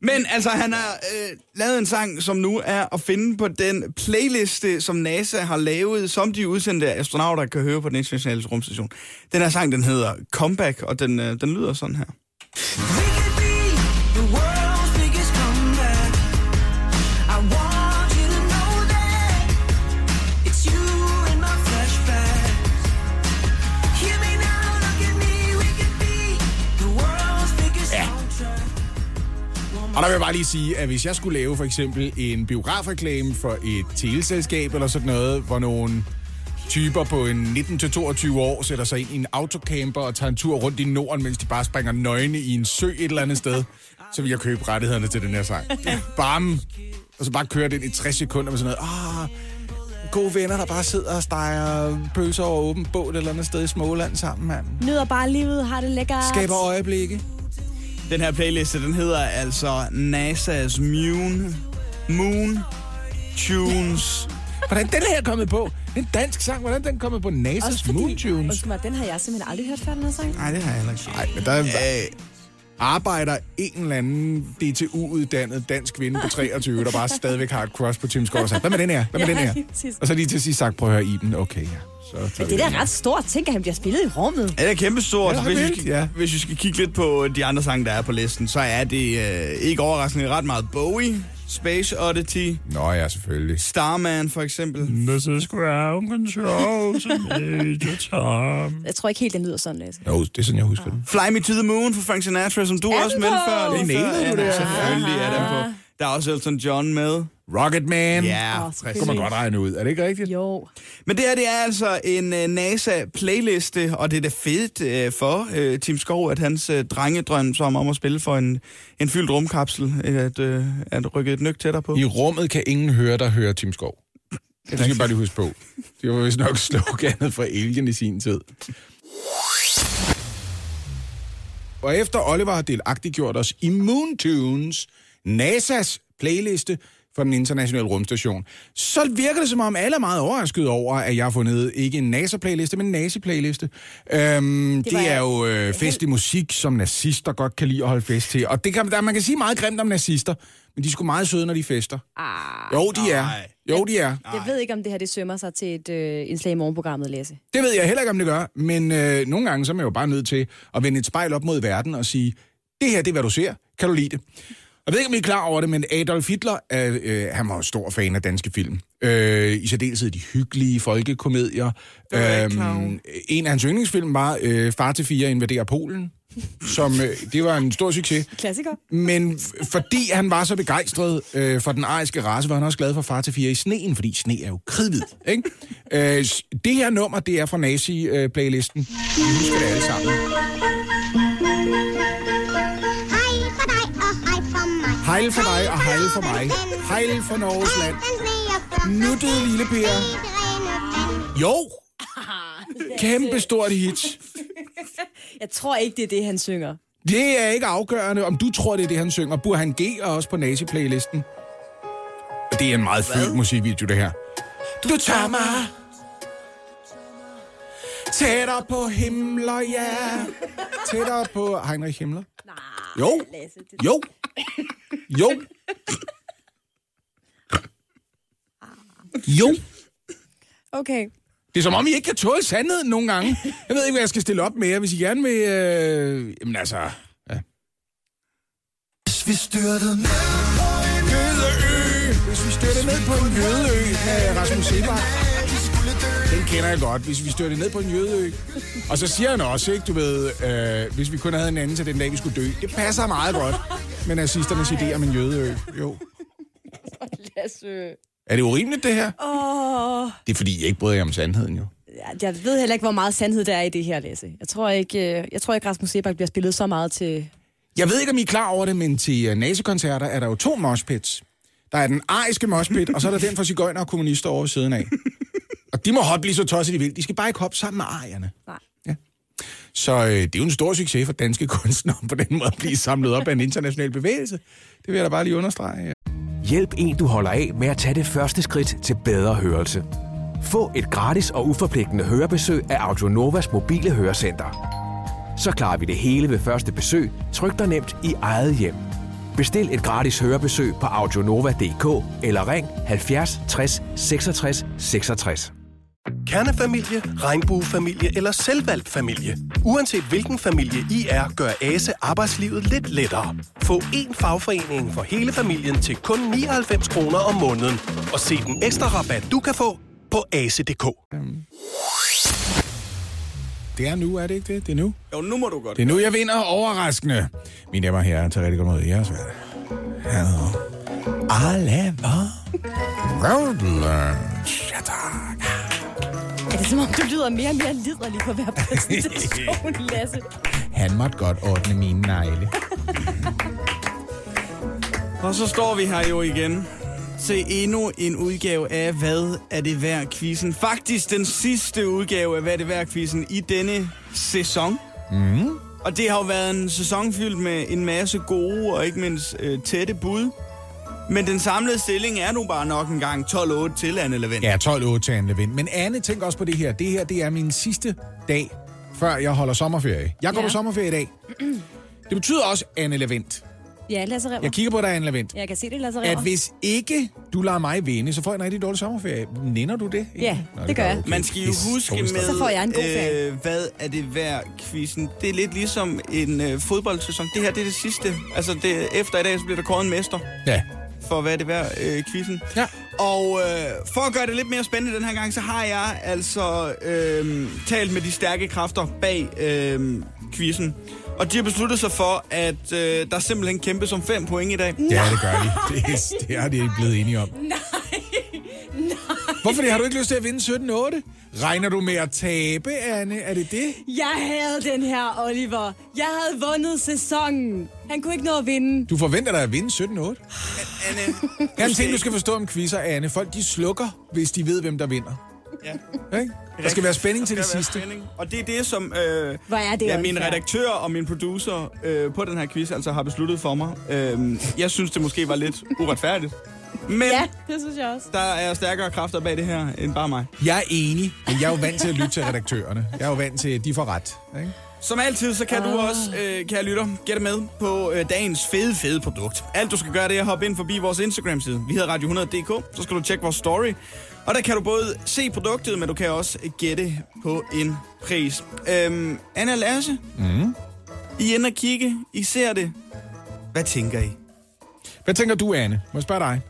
B: Men altså, han har øh, lavet en sang, som nu er at finde på den playliste, som NASA har lavet, som de udsendte astronauter kan høre på den internationale rumstation. Den her sang, den hedder Comeback, og den, øh, den lyder sådan her.
F: We could be the world's biggest comeback. I want you to know that it's you in my flashbacks. Hear me now, look at me. We could be the world's biggest soundtrack.
E: Og der vil jeg bare lige sige, at hvis jeg skulle lave for eksempel en biografreklame for et teleselskab eller sådan noget, hvor nogle typer på en 19-22 år sætter sig ind i en autocamper og tager en tur rundt i Norden, mens de bare springer nøgne i en sø et eller andet sted, så vil jeg købe rettighederne til den her sang. Bam! Og så bare køre den i 60 sekunder med sådan noget. Ah, gode venner, der bare sidder og steger pølser over åben båd et eller andet sted i Småland sammen, mand.
D: Nyder bare livet, har det lækkert.
E: Skaber øjeblikke.
B: Den her playliste, den hedder altså NASA's Moon, Moon Tunes.
E: Hvordan den her er kommet på? En dansk sang, hvordan den kommet på
D: Også
E: NASA's Moon
D: fordi,
E: Tunes?
D: undskyld mig, den har jeg simpelthen aldrig hørt før, den her sang.
B: Nej, det har jeg heller ikke.
E: Nej, men der øh, arbejder en eller anden DTU-uddannet dansk kvinde på 23, der bare stadigvæk har et crush på Tim Skov og sagt, hvad med den her? Hvad med
D: Ja,
E: den her?
D: lige præcis.
E: Og så lige til sidst sagt, prøv at høre Iben, okay, ja. Så tager
D: Det
E: vi
D: er
E: den.
D: da ret stort. Tænk, at han bliver spillet i rummet.
B: Ja, det er kæmpestort.
E: Ja,
B: Ja, hvis, vi
E: vildt,
B: skal,
E: ja.
B: ja. hvis vi skal kigge lidt på de andre sange, der er på listen, så er det øh, ikke overraskende ret meget Bowie, Space Oddity,
E: Nå ja, selvfølgelig.
B: Starman for eksempel.
E: Mrs. Ground Control to Major Tom.
D: Jeg tror ikke helt, den lyder sådan, Lasse.
E: Jo, det er sådan, jeg husker den.
B: Ah. Fly Me To The Moon for Frank Sinatra, som du
D: Er
B: også
D: den
B: med
D: på?
B: før.
D: Det
E: nailede du
B: ja,
E: der.
B: Selvfølgelig er den
D: Ah.
B: på. Der er også Elton John med.
E: Rocket Man.
B: Ja,
D: Åh,
B: oh,
E: Det kunne man
D: selvfølgelig.
E: godt regne ud, er det ikke rigtigt?
D: Jo.
B: Men det her, det er altså en uh, NASA-playliste, og det er da fedt uh, for uh, Tim Skov, at hans uh, drengedrøm som om at spille for en, en fyldt rumkapsel, at, uh, at rykke et nyk tættere på.
E: I rummet kan ingen høre, der hører Tim Skov. Det skal vi bare lige huske på. Det var vist nok sloganet fra Alien i sin tid. Og efter Oliver har delagtiggjort os i Moon Tunes, NASA's playliste for den internationale rumstation, så virker det som om alle er meget overrasket over, at jeg har fundet ikke en NASA-playliste, men en nazi-playliste. Øhm, det,
D: var
E: det er
D: jeg
E: jo øh, fest i musik, som nazister godt kan lide at holde fest til. Og det kan, der, man kan sige meget grimt om nazister, men de er sgu meget søde, når de fester. Ah, jo, de er.
B: nej.
E: Jo, de er.
D: Jeg ved ikke, om det her det sømmer sig til et øh, indslag i morgenprogrammet, Lasse.
E: Det ved jeg heller ikke, om det gør, men øh, nogle gange så er man jo bare nødt til at vende et spejl op mod verden og sige, det her, det er, hvad du ser. Kan du lide det? Jeg ved ikke, om I er klar over det, men Adolf Hitler, er, øh, han var jo stor fan af danske film. Øh, I særdeleshed de hyggelige folkekomedier. Øhm, en af hans yndlingsfilm var øh, Far til fire invaderer Polen, som øh, det var en stor succes.
D: Klassiker.
E: Men f- fordi han var så begejstret øh, for den ariske race, var han også glad for far til fire i sneen, fordi sne er jo kridhvid, ikke? Øh, s- det her nummer, det er fra nazi-playlisten. Vi husker det alle sammen.
G: Hej for dig og hej for mig.
E: Hejl for dig og hejl for mig. Hejl for Norges land. Nuttede lille Per. Jo! Kæmpe stort hit.
D: Jeg tror ikke, det er det, han synger.
E: Det er ikke afgørende, om du tror, det er det, han synger. Burhan G er også på nazi-playlisten. Og det er en meget fyldt musikvideo, det her. Du tager mig tættere på himler, ja. Tættere på Heinrich Himmler. Jo. Jo. Jo. Jo.
D: Okay.
E: Det er som om, I ikke kan tåle sandheden nogle gange. Jeg ved ikke, hvad jeg skal stille op med jer, hvis I gerne vil... Øh... Jamen altså... Ja.
F: Vi styrtede ned på en
E: Jødeø. Hvis vi styrter ned på en jødeø med Rasmus Sebak.
F: vi skulle dø.
E: Den kender jeg godt. Hvis vi styrter ned på en jødeø. Og så siger han også, ikke, du ved, øh, hvis vi kun havde en anden til den dag, vi skulle dø. Det passer meget godt med nazisternes idé om en jødeø. Jo.
D: Lasse.
E: Er det urimeligt, det her?
D: Åh.
E: Det er fordi, jeg ikke bryder jer om sandheden, jo.
D: Ja, Jeg ved heller ikke, hvor meget sandhed der er i det her, Lasse. Jeg tror ikke, øh, jeg tror ikke Rasmus Sebak bliver spillet så meget til...
E: Jeg ved ikke, om I er klar over det, men til øh, nasekoncerter er der jo to moshpits. Der er den ariske moshpit, og så er der den for cigøjner og kommunister over ved siden af. Og de må hoppe lige så tosset de vil. De skal bare ikke hoppe sammen med arierne.
D: Nej.
E: Ja. Så øh, det er jo en stor succes for danske kunstnere på den måde at blive samlet op af en international bevægelse. Det vil jeg da bare lige understrege. ja.
H: Hjælp en, du holder af med at tage det første skridt til bedre hørelse. Få et gratis og uforpligtende hørebesøg af Audionovas mobile hørecenter. Så klarer vi det hele ved første besøg, tryk dig nemt i eget hjem. Bestil et gratis hørebesøg på audionova.dk eller ring 70 60 66 66.
I: Kernefamilie, regnbuefamilie eller selvvalgt familie. Uanset hvilken familie I er, gør ASE arbejdslivet lidt lettere. Få én fagforening for hele familien til kun 99 kroner om måneden. Og se den ekstra rabat, du kan få på ase.dk.
E: Det er nu, er det ikke det? Det er nu.
B: Jo, nu må du godt.
E: Det er nu, jeg vinder overraskende. Mine damer og herrer, tager rigtig godt mod jer. Så han hedder Oliver Robles. Ja, tak.
D: Er det som om, du lyder mere og mere liderlig på hver præsentation, Lasse?
E: Han måtte godt ordne mine negle.
B: Og så står vi her jo igen til endnu en udgave af Hvad er det værd quizzen. Faktisk den sidste udgave af Hvad er det værd quizzen i denne sæson. Mm.
E: Mhm.
B: Og det har jo været en sæson fyldt med en masse gode og ikke mindst øh, tætte bud. Men den samlede stilling er nu bare nok en gang 12-8 til Anne Levent.
E: Ja, 12-8 til Anne Levin. Men Anne, tænk også på det her. Det her, det er min sidste dag, før jeg holder sommerferie. Jeg går ja.
D: Ja.
E: på sommerferie i dag. Det betyder også, Anne Levent.
D: Ja, Lasse Remmer.
E: Jeg kigger på dig, Anne Levent.
D: Jeg kan se det, Lasse
E: At
D: Remmer.
E: hvis ikke du lader mig vinde, så får jeg en rigtig dårlig sommerferie. Nænder du det?
D: Ja, det gør jeg.
B: Man skal jo huske med,
D: Så får jeg en god ferie.
B: øh, hvad er det værd quizzen. Det er lidt ligesom en øh, fodboldsæson. Det her, det er det sidste. Altså, det, efter i dag, så bliver der kåret en mester.
E: Ja.
B: for hvad er det værd, øh, quizzen.
E: Ja.
B: Og øh, for at gøre det lidt mere spændende den her gang, så har jeg altså øh, talt med de stærke kræfter bag øh, quizzen. Og de har besluttet sig for, at øh, der simpelthen kæmpes om fem point i dag.
E: Ja, det gør de. Det, er- det er de ikke blevet enige om. Nej. Hvorfor det? Har du ikke lyst til at vinde 17-8? Regner du med at tabe, Anne? Er det det?
D: Jeg havde den her, Oliver. Jeg havde vundet sæsonen. Han kunne ikke nå at vinde.
E: Du forventer dig at vinde 17-8?
B: Anne,
E: Jeg en ting, du skal forstå om quizzer, Anne. Folk, de slukker, hvis de ved, hvem der vinder.
B: ja.
E: Ikke? Der skal være spænding til
B: Der
E: det
B: skal være
E: sidste.
B: spænding. Og det er det, som øh,
D: Hvor er det
B: ja,
D: unfair.
B: min redaktør og min producer øh, på den her quiz altså har besluttet for mig. Øh, jeg synes, det måske var lidt uretfærdigt. Men
D: Ja,
B: ja.
D: det synes jeg også.
B: der er stærkere kræfter bag det her, end bare mig.
E: Jeg er enig, men jeg er jo vant til at lytte til redaktørerne. Jeg er jo vant til, at de får ret. Ikke?
B: Som altid, så kan du også, øh, kære lytter, gætte med på øh, dagens fede, fede produkt. Alt du skal gøre, det er at hoppe ind forbi vores Instagram-side. Vi hedder Radio100.dk, så skal du tjekke vores story. Og der kan du både se produktet, men du kan også gætte på en pris. Øhm, Anna og Lasse, mm. I er inde og kigge, I ser det. Hvad tænker I?
E: Hvad tænker du, Anne? Må jeg spørge dig?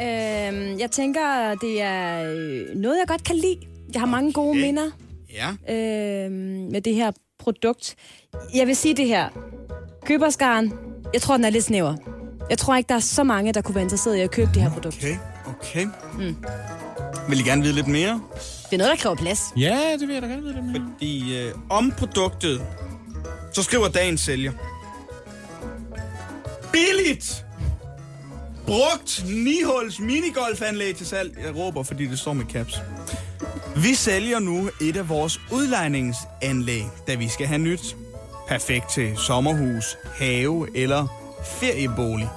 D: Øhm, jeg tænker, det er øh, noget, jeg godt kan lide. Jeg har mange gode minder
B: Ja.
D: øhm, med det her produkt. Jeg vil sige det her. Køberskaren, jeg tror, den er lidt snæver. Jeg tror ikke, der er så mange, der kunne være interesseret i at købe det her produkt.
B: Okay, okay. Mm. Vil I gerne vide lidt mere?
D: Det er noget, der kræver plads.
E: Ja, det vil jeg da gerne vide lidt mere.
B: Fordi øh, om produktet, så skriver dagens sælger. Billigt! Brugt Nihols minigolfanlæg til salg. Jeg råber, fordi det står med caps. Vi sælger nu et af vores udlejningsanlæg, da vi skal have nyt. Perfekt til sommerhus, have eller feriebolig.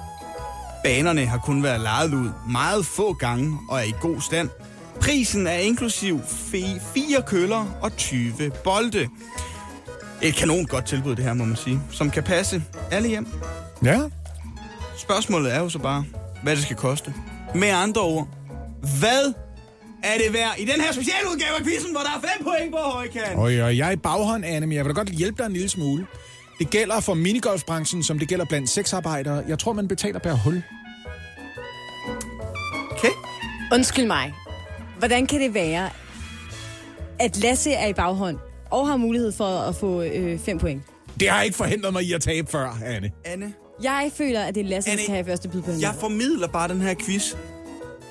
B: Banerne har kun været lejet ud meget få gange og er i god stand. Prisen er inklusiv fe- fire køller og 20 bolde. Et kanon godt tilbud, det her, må man sige. Som kan passe alle hjem.
E: Ja.
B: Spørgsmålet er jo så bare, hvad det skal koste. Med andre ord, hvad er det værd i den her specialudgave af quizzen, hvor der er fem point på højkant?
E: Og jeg jeg er i baghånd, Anne, men jeg vil da godt hjælpe dig en lille smule. Det gælder for minigolfbranchen, som det gælder blandt sexarbejdere. Jeg tror, man betaler per hul.
B: Okay.
D: Undskyld mig. Hvordan kan det være, at Lasse er i baghånd og har mulighed for at få øh, fem point?
E: Det har ikke forhindret mig i at tabe før, Anne.
B: Anne,
D: Jeg føler, at det er Lasse, der
B: Anne,
D: skal have første bid på den
B: jeg
D: her.
B: formidler bare den her quiz.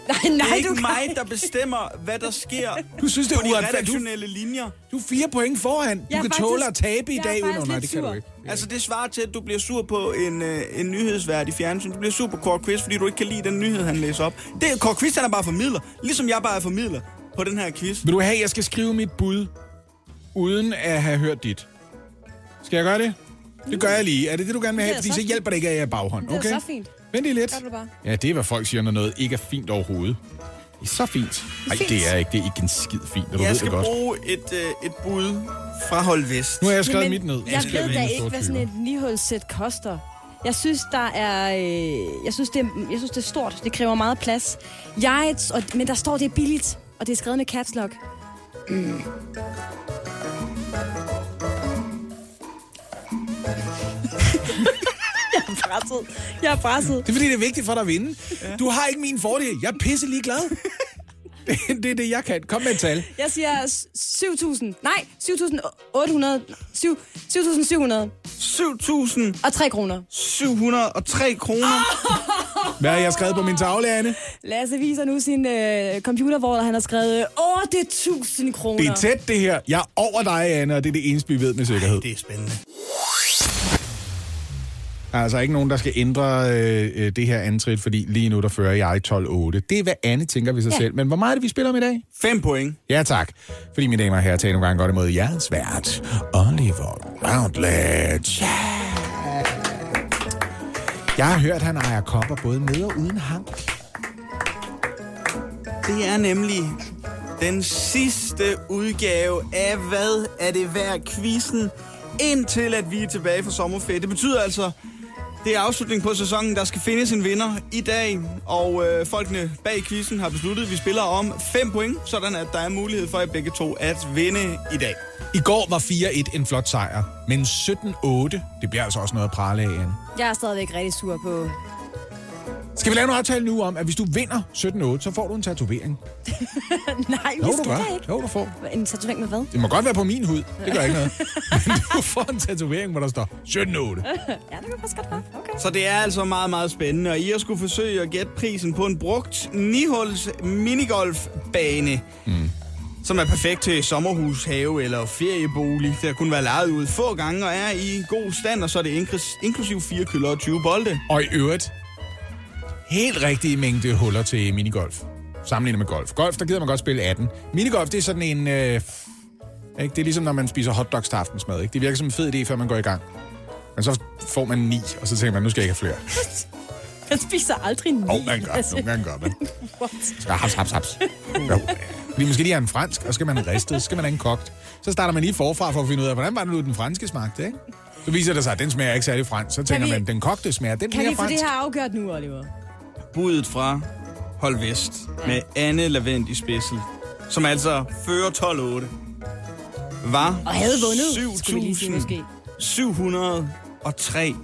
D: Nej,
B: Det er
D: nej,
B: ikke
D: du kan...
B: mig, der bestemmer, hvad der sker
E: Du synes, det er
B: på de
E: uretfærdigt. Du,
B: redaktionelle linjer.
E: du er fire point foran. Du
D: Jeg er
E: kan
D: faktisk-
E: tåle at tabe i
D: jeg er
E: dag.
D: faktisk
E: Uno. Nej,
D: lidt
E: det kan du
D: sur.
E: ikke.
B: Altså, det svarer til, at du bliver sur på en, øh, en nyhedsvært i fjernsyn. Du bliver sur på Kåre Quist, fordi du ikke kan lide den nyhed, han læser op. Det er Kåre Quist, han er bare formidler. Ligesom jeg bare er formidler på den her quiz.
E: Vil du have, at jeg skal skrive mit bud, uden at have hørt dit? Skal jeg gøre det? Det gør jeg lige. Er det det, du gerne vil have?
D: Det er
E: Fordi
D: så
E: så
D: fint.
E: hjælper det ikke, at jeg er baghånd.
D: Det er
E: Okay?
D: så fint.
E: Vent lige lidt.
D: Gør du bare.
E: Ja, det er, hvad folk siger, når noget ikke er fint overhovedet. Det er så fint. Nej,
D: fint.
E: det er ikke. Det er ikke en skid fint, og du
B: Jeg
E: ved det
B: skal
E: godt.
B: bruge et, øh, et bud fra Hold Vest.
E: Nu har jeg skrevet
D: Jamen,
E: mit ned.
D: Jeg
E: skal
D: ved
E: vælge
D: da
E: en
D: ikke,
E: sort
D: hvad sådan
E: tyver.
D: et nihulssæt koster. Jeg synes, der er, øh, jeg, synes, det er, jeg synes, det er stort. Det kræver meget plads. Jeg, er et- og, men der står, det er billigt, og det er skrevet med caps lock. Mm. jeg er presset. Jeg er presset.
E: Det er, fordi det er vigtigt for dig at vinde. Du har ikke min fordel. Jeg er pisse glad. det, det er det, jeg kan. Kom med et tal.
D: Jeg siger s- 7.000. Nej, 7.800. 7- 7.700.
B: 7.703
D: Og 3 kroner.
B: kroner.
E: Hvad har jeg skrevet på min tavle, Anne?
D: Ah! Lasse viser nu sin øh, computer, hvor han har skrevet øh, 8.000 kroner.
E: Det er tæt, det her. Jeg er over dig, Anne, og det er det eneste, vi ved med sikkerhed.
B: Det er spændende.
E: Der er altså ikke nogen, der skal ændre øh, øh, det her antrit, fordi lige nu, der fører jeg 12-8. Det er, hvad Anne tænker ved sig ja. selv. Men hvor meget er det, vi spiller om i dag?
B: 5 point.
E: Ja, tak. Fordi, mine damer og herrer, tager nogle gange godt imod jeres vært, Oliver Routledge. Jeg har hørt, han ejer kopper både med og uden ham.
B: Det er nemlig den sidste udgave af Hvad er det værd quizzen, indtil at vi er tilbage fra sommerferie. Det betyder altså, det er afslutning på sæsonen, der skal findes en vinder i dag, og øh, folkene bag quizzen har besluttet, at vi spiller om 5 point, sådan at der er mulighed for jer begge to at vinde i dag.
E: I går var 4-1 en flot sejr, men 17-8, det bliver altså også noget at prale af, Anne.
D: Jeg er stadigvæk rigtig sur på...
E: Skal vi lave en aftale nu om, at hvis du vinder 17-8, så får du en tatovering?
D: Nej,
E: Jo,
D: det
E: du
D: skal
E: gør.
D: jeg ikke.
E: Jo, du får.
D: En tatovering med hvad?
E: Det må godt være på min hud. Det gør ikke noget. Men du får en tatovering, hvor der står 17-8.
D: Ja, det kan faktisk godt være. Okay.
B: Så det er altså meget, meget spændende, og I har skulle forsøge at gætte prisen på en brugt nihuls minigolfbane, mm. som er perfekt til sommerhus, have eller feriebolig. Det har kun været lejet ud få gange og er i god stand, og så er det inkl- inklusiv 4 køller og 20 bolde.
E: Og i øvrigt, helt rigtige mængde huller til minigolf. Sammenlignet med golf. Golf, der gider man godt spille 18. Minigolf, det er sådan en... Øh, ikke? Det er ligesom, når man spiser hotdogs til aftensmad. Ikke? Det virker som en fed idé, før man går i gang. Men så får man 9, og så tænker man, nu skal jeg ikke have flere.
D: Jeg spiser aldrig en
E: Åh, oh, man gør. Nogle gange gør man.
D: What?
E: Så haps, haps, haps. Jo. Fordi måske lige have en fransk, og så skal man have ristet, så skal man have en kogt. Så starter man lige forfra for at finde ud af, hvordan var det nu, den franske smagte, ikke? Så viser det sig, at den smager ikke særlig fransk. Så tænker
D: vi-
E: man, den kogte smager, den
D: Kan
E: mere
D: vi få
E: fransk.
D: det her afgjort nu, Oliver?
B: Budet fra Hold Vest med Anne Lavendt i spidsen, som altså fører 12-8, var
D: Og havde vundet, skulle vi lige sige måske.
B: 703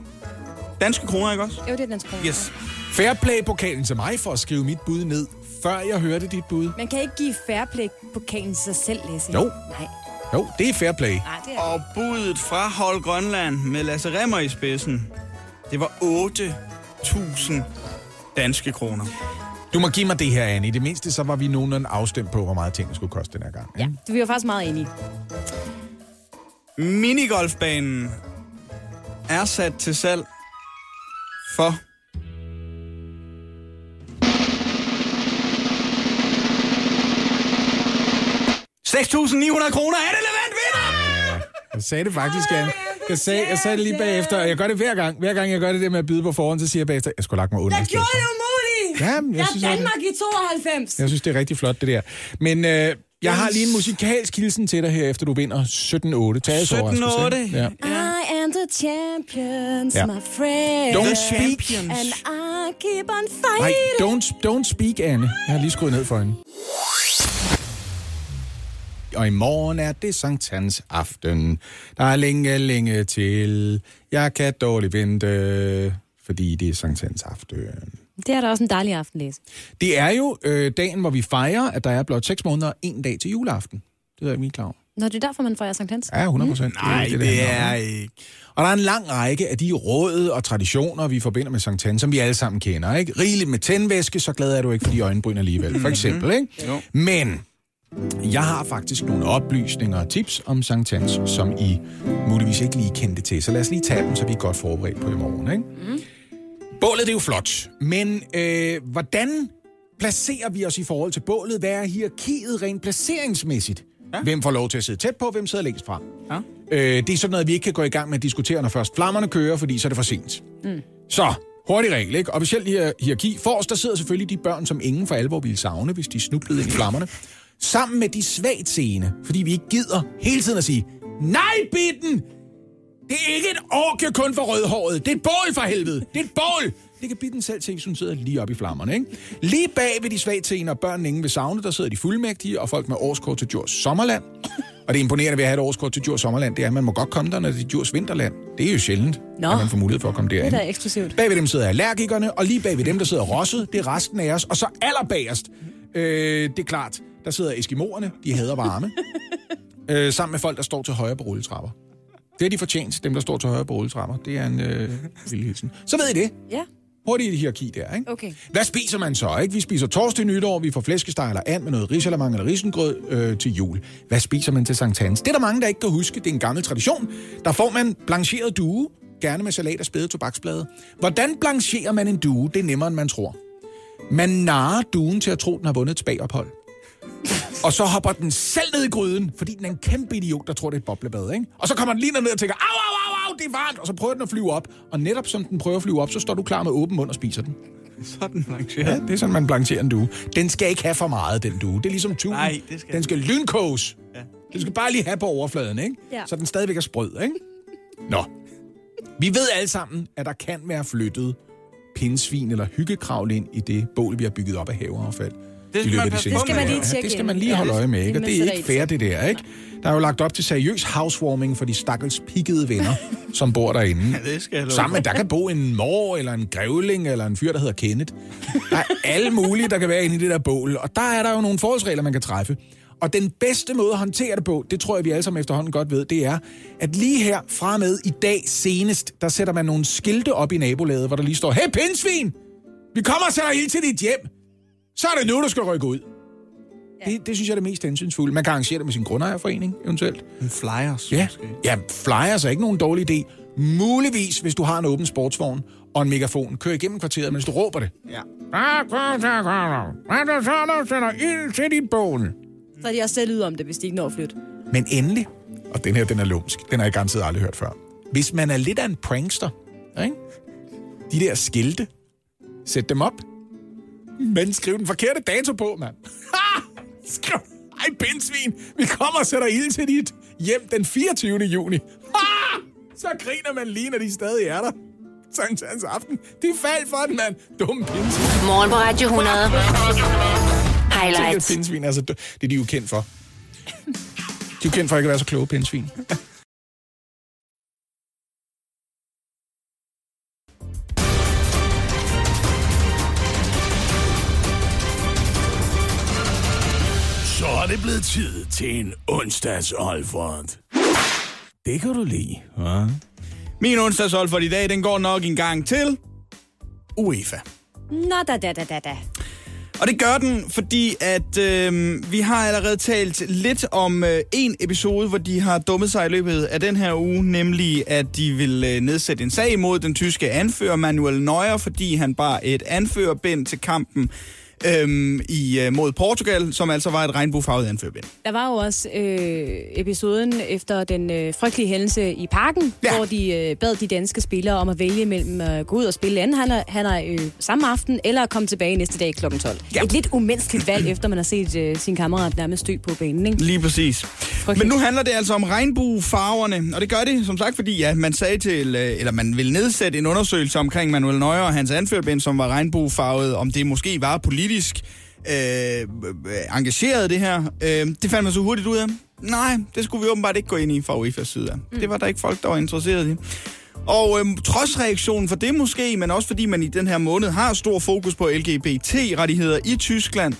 B: danske kroner, ikke også?
D: Jo, det er dansk kroner.
B: Yes.
E: Fairplay-pokalen til mig for at skrive mit bud ned, før jeg hørte dit bud.
D: Man kan ikke give fairplay pokalen til sig selv, Lasse.
E: Jo.
D: Nej,
E: Jo, det er fairplay.
D: nej, det er...
B: Og budet fra Hold Grønland med Lasse Remmer i spidsen, det var 8.000 danske kroner.
E: Du må give mig det her, Anne. I det mindste, så var vi nogenlunde afstemt på, hvor meget tingene skulle koste den her gang.
D: Ja, det er vi jo faktisk meget enige.
B: Minigolfbanen er sat til salg for... ...6.900 kroner. Er det Levant vinder?
E: Jeg sagde det faktisk, Anne. Jeg sagde, jeg sagde det lige bagefter, og jeg gør det hver gang. Hver gang jeg gør det der med at byde på forhånd, så siger jeg bagefter, jeg skulle have lagt mig under. i stedet for.
D: umuligt!
E: Jamen, jeg synes, jeg-
D: i 92!
E: Jeg synes, det er rigtig flot, det der. Men øh, jeg har lige en musikalsk hilsen til dig her, efter du vinder 17-8. Tag
B: 17.8.
E: Ja.
D: I am the champions,
E: Ja.
D: my friend.
E: Don't
B: The
E: speak.
B: Champions.
D: And I keep on
E: Nej,
D: fighting.
E: don't, don't speak, Anne. Jeg har lige skruet ned for hende. Og i morgen er det Sankt Hans aften. Der er længe, længe til. Jeg kan dårligt vente, fordi det er Sankt Hans aften.
D: Det er da også en dejlig aften, Lasse.
E: Det er jo øh, dagen, hvor vi fejrer, at der er blot 6 måneder og en dag til juleaften. Det ved jeg ikke, om I er klar over. Mm.
D: Nå, det er derfor, man får Sankt Hans. Mm.
E: Ja, 100 procent.
B: Nej, det er ikke.
E: Og der er en lang række af de råd og traditioner, vi forbinder med Sankt Hans, som vi alle sammen kender. Ikke? Rigeligt med tændvæske, så glad er du ikke for de øjenbryn alligevel,
B: Mhm.
E: for eksempel. Ikke?
B: Jo.
E: Men jeg har faktisk nogle oplysninger og tips om Sankt Hans, som I muligvis ikke lige kendte til. Så lad os lige tage dem, så vi er godt forberedt på i morgen. Ikke? Bålet det er jo flot, men øh, hvordan placerer vi os i forhold til bålet? Hvad er hierarkiet rent placeringsmæssigt? Ja. Hvem får lov til at sidde tæt på, hvem sidder længst fra?
B: Ja.
E: Øh, det er sådan noget, vi ikke kan gå i gang med at diskutere, når først flammerne kører, fordi så er det for sent. Mm. Så, hurtig regel, ikke? Officiel hier- hierarki. Forrest, der sidder selvfølgelig de børn, som ingen for alvor ville savne, hvis de snublede ind i flammerne. Sammen med de svagt seende, fordi vi ikke gider hele tiden at sige, nej, bitten! Det er ikke et orke kun for rødhåret. Det er et bål for helvede. Det er et bål. Det kan bide den selv til, hvis hun sidder lige oppe i flammerne. Ikke? Lige bag ved de svagtseende og børnene ingen ved savne, der sidder de fuldmægtige og folk med årskort til Djurs Sommerland. Og det imponerende ved at have et årskort til Djurs Sommerland, det er, at man må godt komme der, når det er Djurs Vinterland. Det er jo sjældent,
D: Nå.
E: at man får mulighed for at komme derind.
D: Det er da eksklusivt.
E: Bag ved dem sidder allergikerne, og lige bag ved dem, der sidder rosset, det er resten af os. Og så allerbagerst, øh, det er klart, der sidder eskimoerne, de hader varme. øh, sammen med folk, der står til højre på rulletrapper. Det er de fortjent, dem der står til højre på rulletrapper. Det er en øh, lille hilsen. Så ved I det.
D: Ja.
E: Hurtigt hierarki der, ikke?
D: Okay.
E: Hvad spiser man så, ikke? Vi spiser torsdag nytår, vi får flæskesteg eller and med noget risalamang eller risengrød øh, til jul. Hvad spiser man til Sankt Hans? Det er der mange, der ikke kan huske. Det er en gammel tradition. Der får man blancheret due, gerne med salat og spæde tobaksblade. Hvordan blancherer man en due? Det er nemmere, end man tror. Man narrer duen til at tro, den har vundet et spagophold. Og så hopper den selv ned i gryden, fordi den er en kæmpe idiot, der tror, det er et boblebad, ikke? Og så kommer den lige ned og tænker, au, au, au, au, det er varmt, og så prøver den at flyve op. Og netop som den prøver at flyve op, så står du klar med åben mund og spiser den.
B: Sådan
E: Ja,
B: arrangeret.
E: det er sådan, man blancherer en due. Den skal ikke have for meget, den due. Det er ligesom tuben.
B: Nej, det skal
E: den skal lynkoges. Ja. Den skal bare lige have på overfladen, ikke?
D: Ja.
E: Så den stadigvæk er sprød, ikke? Nå. Vi ved alle sammen, at der kan være flyttet pindsvin eller hyggekravl ind i det bål, vi har bygget op af haveaffald.
B: skal
E: i løbet
B: man
E: af de
B: passe
E: seneste
B: på med.
E: år.
B: Det skal man lige
E: ja,
D: tjekke
E: det skal
D: ind.
E: man lige
D: Ja,
E: holde øje med, ikke? Og
D: det
E: det er
D: sætter
E: ikke
D: I
E: fair, det der, ikke? Der er jo lagt op til seriøs housewarming for de stakkels pikkede venner, som bor derinde.
B: Ja, det skal jeg love
E: Sammen med, der kan bo en mor, eller en grævling, eller en fyr, der hedder Kenneth. Der er alle mulige, der kan være inde i det der bål. Og der er der jo nogle forholdsregler, man kan træffe. Og den bedste måde at håndtere det på, det tror jeg, vi alle sammen efterhånden godt ved, det er, at lige her fra og med i dag senest, der sætter man nogle skilte op i nabolaget, hvor der lige står, Hey pindsvin! Vi kommer og sætter ild til dit hjem! Så er det nu, du skal rykke ud. Ja. Det, det synes jeg er det mest hensynsfulde. Man kan arrangere det med sin grundejerforening, eventuelt.
B: En flyers,
E: Ja,
B: måske.
E: ja flyers er ikke nogen dårlig idé. Muligvis, hvis du har en åben sportsvogn og en megafon, kør igennem kvarteret, mens du råber det.
B: Ja.
E: Hvad
B: er
E: der så, der sætter ild til dit bål?
D: Så er de også selv ude om det, hvis de ikke når at flytte.
E: Men endelig, og den her, den er lumsk, den har jeg garanteret aldrig hørt før. Hvis man er lidt af en prankster, ikke? de der skilte, sæt dem op,
A: Mm.
E: men skriv den forkerte dato på, mand. Ha! Skriv, ej, pindsvin, vi kommer og sætter ild til dit hjem den 24. juni. Ha! Så griner man lige, når de stadig er der. Sankt Hans aften. De faldt for den, mand. Dumme pindsvin.
A: Morgen på Radio 100.
E: Tænk,
A: Highlights.
E: at pindsvin er så dø- Det er de jo kendt for. De er jo kendt for ikke at være så kloge pindsvin.
I: Så er det blevet tid til en onsdags Alfred. Det kan du lide, hva'?
B: Min onsdagshold for i dag, den går nok en gang til UEFA.
D: Nå, da, da, da, da, da.
B: Og det gør den, fordi at øh, vi har allerede talt lidt om øh, en episode, hvor de har dummet sig i løbet af den her uge, nemlig at de vil øh, nedsætte en sag imod den tyske anfører Manuel Neuer, fordi han bar et anførerbind til kampen øhm, i, øh, mod Portugal, som altså var et regnbuefarvet anførerbind.
D: Der var jo også øh, episoden efter den øh, frygtelige hændelse i parken,
B: Ja.
D: ja. hvor de øh, bad de danske spillere om at vælge mellem at gå ud og spille anden han han er, øh, samme aften, eller at komme tilbage næste dag kl. 12. Ja. Et lidt umenneskeligt valg, efter man har set øh, sin kammerat nærmest dø på banen. Ikke?
B: Lige præcis. Men nu handler det altså om regnbuefarverne, og det gør det som sagt, fordi ja, man sagde til, øh, eller man ville nedsætte en undersøgelse omkring Manuel Neuer og hans anførbind, som var regnbuefarvet, om det måske var politisk øh, øh, engageret det her. Øh, det fandt man så hurtigt ud af. Nej, det skulle vi åbenbart ikke gå ind i fra UEFA's side. af. Det var der ikke folk, der var interesseret i. Og øhm, trods reaktionen for det måske, men også fordi man i den her måned har stor fokus på LGBT-rettigheder i Tyskland,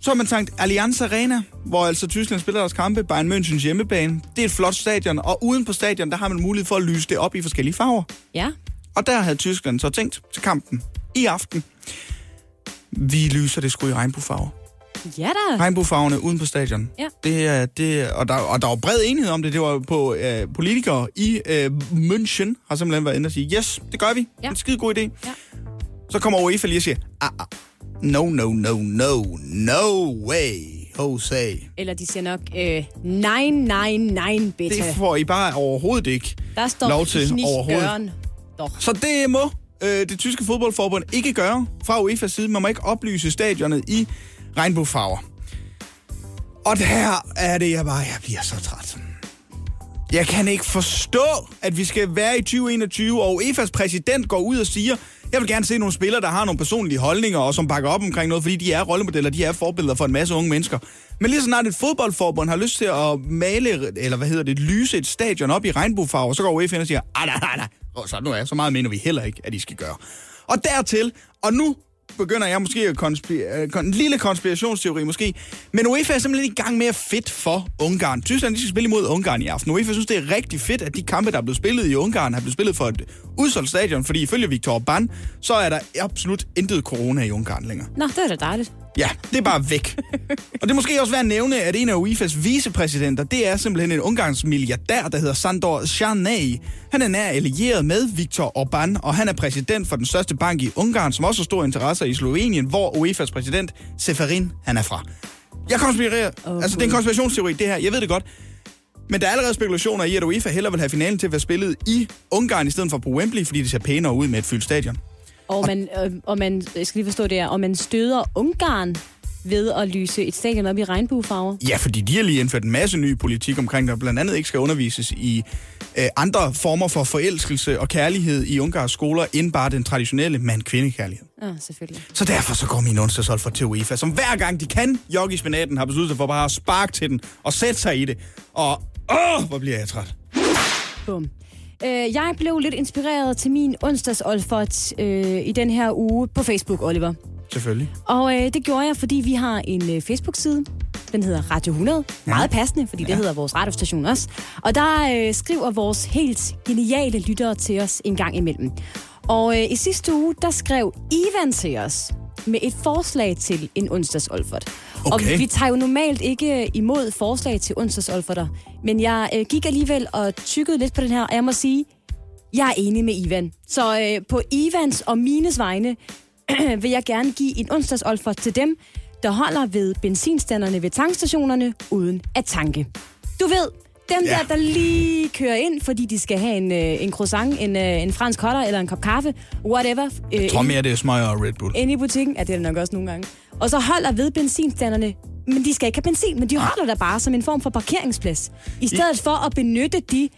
B: Så har man tænkt Allianz Arena, hvor altså Tyskland spiller deres kampe, Bayern Münchens hjemmebane. Det er et flot stadion, og uden på stadion, der har man mulighed for at lyse det op i forskellige farver.
D: Ja.
B: Og der havde Tyskland så tænkt til kampen i aften. Vi lyser det sgu i regnbuefarver.
D: Ja da.
B: Regnbuefarverne uden på stadion.
D: Ja.
B: Det er, det, og, der, og der var bred enighed om det. Det var på øh, politikere i øh, München, har simpelthen været inde og sige, yes, det gør vi. Ja. Det er en skide god idé.
D: Ja.
B: Så kommer UEFA lige og siger, ah, ah, no, no, no, no, no way, Jose.
D: Eller de siger nok, øh, nej, nej, nej, beta.
B: Det får I bare overhovedet ikke
D: Der står
B: lov til
D: knis
B: overhovedet.
D: døren. Dog.
B: Så det må øh, det tyske fodboldforbund ikke gøre fra UEFA's side. Man må ikke oplyse stadionet i regnbuefarver. Og her er det, jeg bare jeg bliver så træt. Jeg kan ikke forstå, at vi skal være i 2021, og UEFA's præsident går ud og siger, jeg vil gerne se nogle spillere, der har nogle personlige holdninger, og som bakker op omkring noget, fordi de er rollemodeller, de er forbilleder for en masse unge mennesker. Men lige så snart et fodboldforbund har lyst til at male, eller hvad hedder det, lyse et stadion op i regnbuefarver, så går UEFA ind og siger, ah, nej, nej, nej, og så nu er så meget mener vi heller ikke, at I skal gøre. Og dertil, og nu begynder jeg måske at konspir- øh, kon- en lille konspirationsteori måske, men UEFA er simpelthen i gang med at fedt for Ungarn. Tyskland de skal spille imod Ungarn i aften. UEFA synes, det er rigtig fedt, at de kampe, der er blevet spillet i Ungarn, har blevet spillet for et udsolgt stadion, fordi ifølge Viktor Orbán, så er der absolut intet corona i Ungarn længere.
D: Nå, det er da dejligt.
B: Ja, det er bare væk. og det er måske også værd at nævne, at en af UEFA's vicepræsidenter, det er simpelthen en ungarns milliardær, der hedder Sandor Charnay. Han er nær allieret med Viktor Orbán, og han er præsident for den største bank i Ungarn, som også har store interesser i Slovenien, hvor UEFA's præsident Seferin, han er fra. Jeg konspirerer. Oh, altså, det er en konspirationsteori, det her. Jeg ved det godt. Men der er allerede spekulationer i, at UEFA hellere vil have finalen til at være spillet i Ungarn i stedet for på Wembley, fordi det ser pænere ud med et fyldt stadion.
D: Og man, øh, og man jeg skal lige forstå det her, og man støder Ungarn ved at lyse et stadion op i regnbuefarver.
B: Ja, fordi de har lige indført en masse ny politik omkring, der blandt andet ikke skal undervises i øh, andre former for forelskelse og kærlighed i Ungarns skoler, end bare den traditionelle mand-kvinde-kærlighed.
D: Ja, selvfølgelig.
B: Så derfor så går min onsdagshold for til UEFA, som hver gang de kan, Jokke i spinaten har besluttet sig for bare at sparke til den og sætte sig i det. Og åh, hvor bliver jeg træt.
D: Bum. Øh, jeg blev lidt inspireret til min onsdags Olfert øh, i den her uge på Facebook, Oliver.
B: Selvfølgelig.
D: Og øh, det gjorde jeg, fordi vi har en øh, Facebook-side. Den hedder Radio 100. Meget passende, fordi det hedder vores radiostation også. Og der øh, skriver vores helt geniale lyttere til os en gang imellem. Og øh, i sidste uge, der skrev Ivan til os med et forslag til en onsdags Olfert.
B: Okay.
D: Og vi tager jo normalt ikke imod forslag til onsdags Olferter, men jeg øh, gik alligevel og tykkede lidt på den her, og jeg må sige, jeg er enig med Ivan. Så øh, på Ivans og mines vegne vil jeg gerne give en onsdagsolfer til dem, der holder ved benzinstanderne ved tankstationerne uden at tanke. Du ved, dem
B: Ja.
D: ja. der, der lige kører ind, fordi de skal have en, øh, en croissant, en, øh, en fransk hotter eller en kop kaffe, whatever. Øh,
B: Jeg tror mere, det er smøger og Red Bull.
D: inde i butikken. Ja, det er det nok også nogle gange. Og så holder ved benzinstanderne. Men de skal ikke have benzin, men de
B: Ah.
D: holder der bare som en form for parkeringsplads. I stedet for at benytte de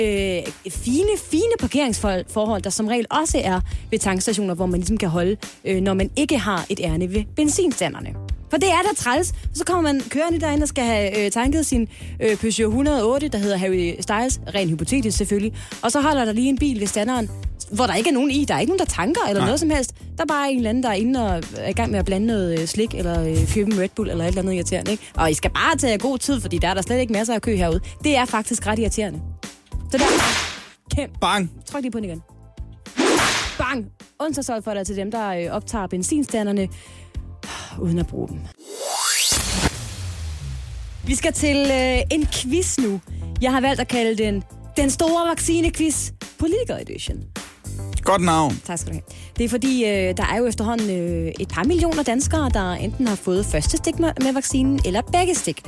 D: øh, fine, fine parkeringsforhold, der som regel også er ved tankstationer, hvor man ligesom kan holde, øh, når man ikke har et ærne ved benzinstanderne. For det er da træls. Så kommer man kørende derind og skal have øh, tanket sin øh, Peugeot 108, der hedder Harry Styles, rent hypotetisk selvfølgelig. Og så holder der lige en bil ved standeren, hvor der ikke er nogen i. Der er ikke nogen, der tanker eller noget som helst. Der er bare en eller anden, der er inde og er i gang med at blande noget øh, slik, eller øh, købe en Red Bull, eller et eller andet irriterende. Ikke? Og I skal bare tage jer god tid, fordi der er der slet ikke masser af kø herude. Det er faktisk ret irriterende. Så der kæmpe
B: Bang.
D: Tryk lige på den igen. Bang! Onsdagsolf for dig til dem, der øh, optager benzinstanderne uden at bruge dem. Vi skal til øh, en quiz nu. Jeg har valgt at kalde den Den Store Vaccine-quiz Politiker Edition.
B: Godt navn.
D: Tak skal du have. Det er fordi, øh, der er jo efterhånden øh, et par millioner danskere, der enten har fået første stik med, med vaccinen, eller begge stik.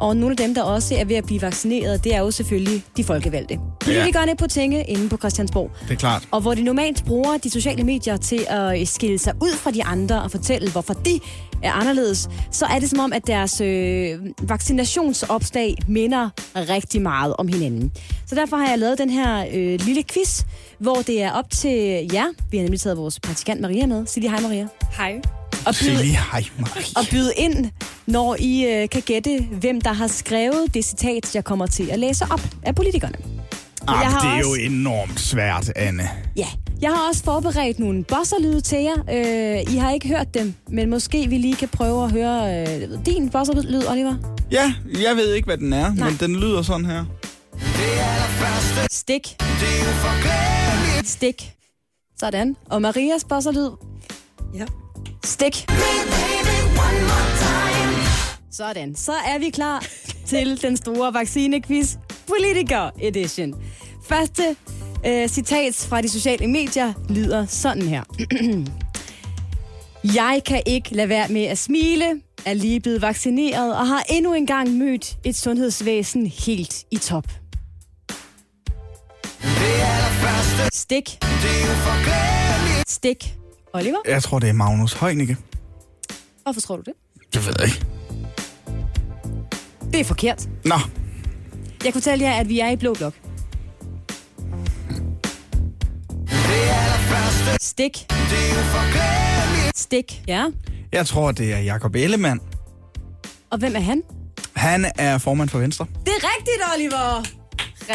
D: Og nogle af dem, der også er ved at blive vaccineret, det er jo selvfølgelig de folkevalgte. Politikerne ja. på Tinge inde på Christiansborg.
B: Det er klart.
D: Og hvor de normalt bruger de sociale medier til at øh, skille sig ud fra de andre og fortælle, hvorfor de er anderledes, så er det som om, at deres øh, vaccinationsopslag minder rigtig meget om hinanden. Så derfor har jeg lavet den her øh, lille quiz, hvor det er op til jer. Vi har nemlig taget vores praktikant Maria med. Sig lige hej Maria.
C: Hej.
D: Og
B: Sig
D: byde-
B: lige hej, Marie.
D: og byde ind, når I øh, kan gætte, hvem der har skrevet det citat, jeg kommer til at læse op af politikerne.
B: Arh,
D: har
B: Ah, det er jo
D: også-
B: enormt svært, Anne.
D: Ja, jeg har også forberedt nogle bosserlyde til jer. Øh, I har ikke hørt dem, men måske vi lige kan prøve at høre øh, din bosserlyd, Oliver.
B: Ja, jeg ved ikke, hvad den er,
D: Nej.
B: men den lyder sådan her.
D: Stik. Stik. Sådan. Og Marias bosserlyd.
J: Ja.
D: Stik. Sådan. Så er vi klar til den store vaccinequiz Politiker Edition. Første øh, citat fra de sociale medier lyder sådan her. Jeg kan ikke lade være med at smile, er lige blevet vaccineret og har endnu engang mødt et sundhedsvæsen helt i top. Stik. Stik. Oliver,
B: Jeg tror, det er Magnus Heunicke.
D: hvorfor tror du det?
B: Det ved jeg ikke.
D: Det er forkert.
B: Nå,
D: Jeg kunne fortælle jer, at vi er i blå blok. Stik. Stik. Ja.
B: jeg tror, det er Jakob Ellemann.
D: Og hvem er han?
B: Han er formand for Venstre.
D: Det er rigtigt, Oliver!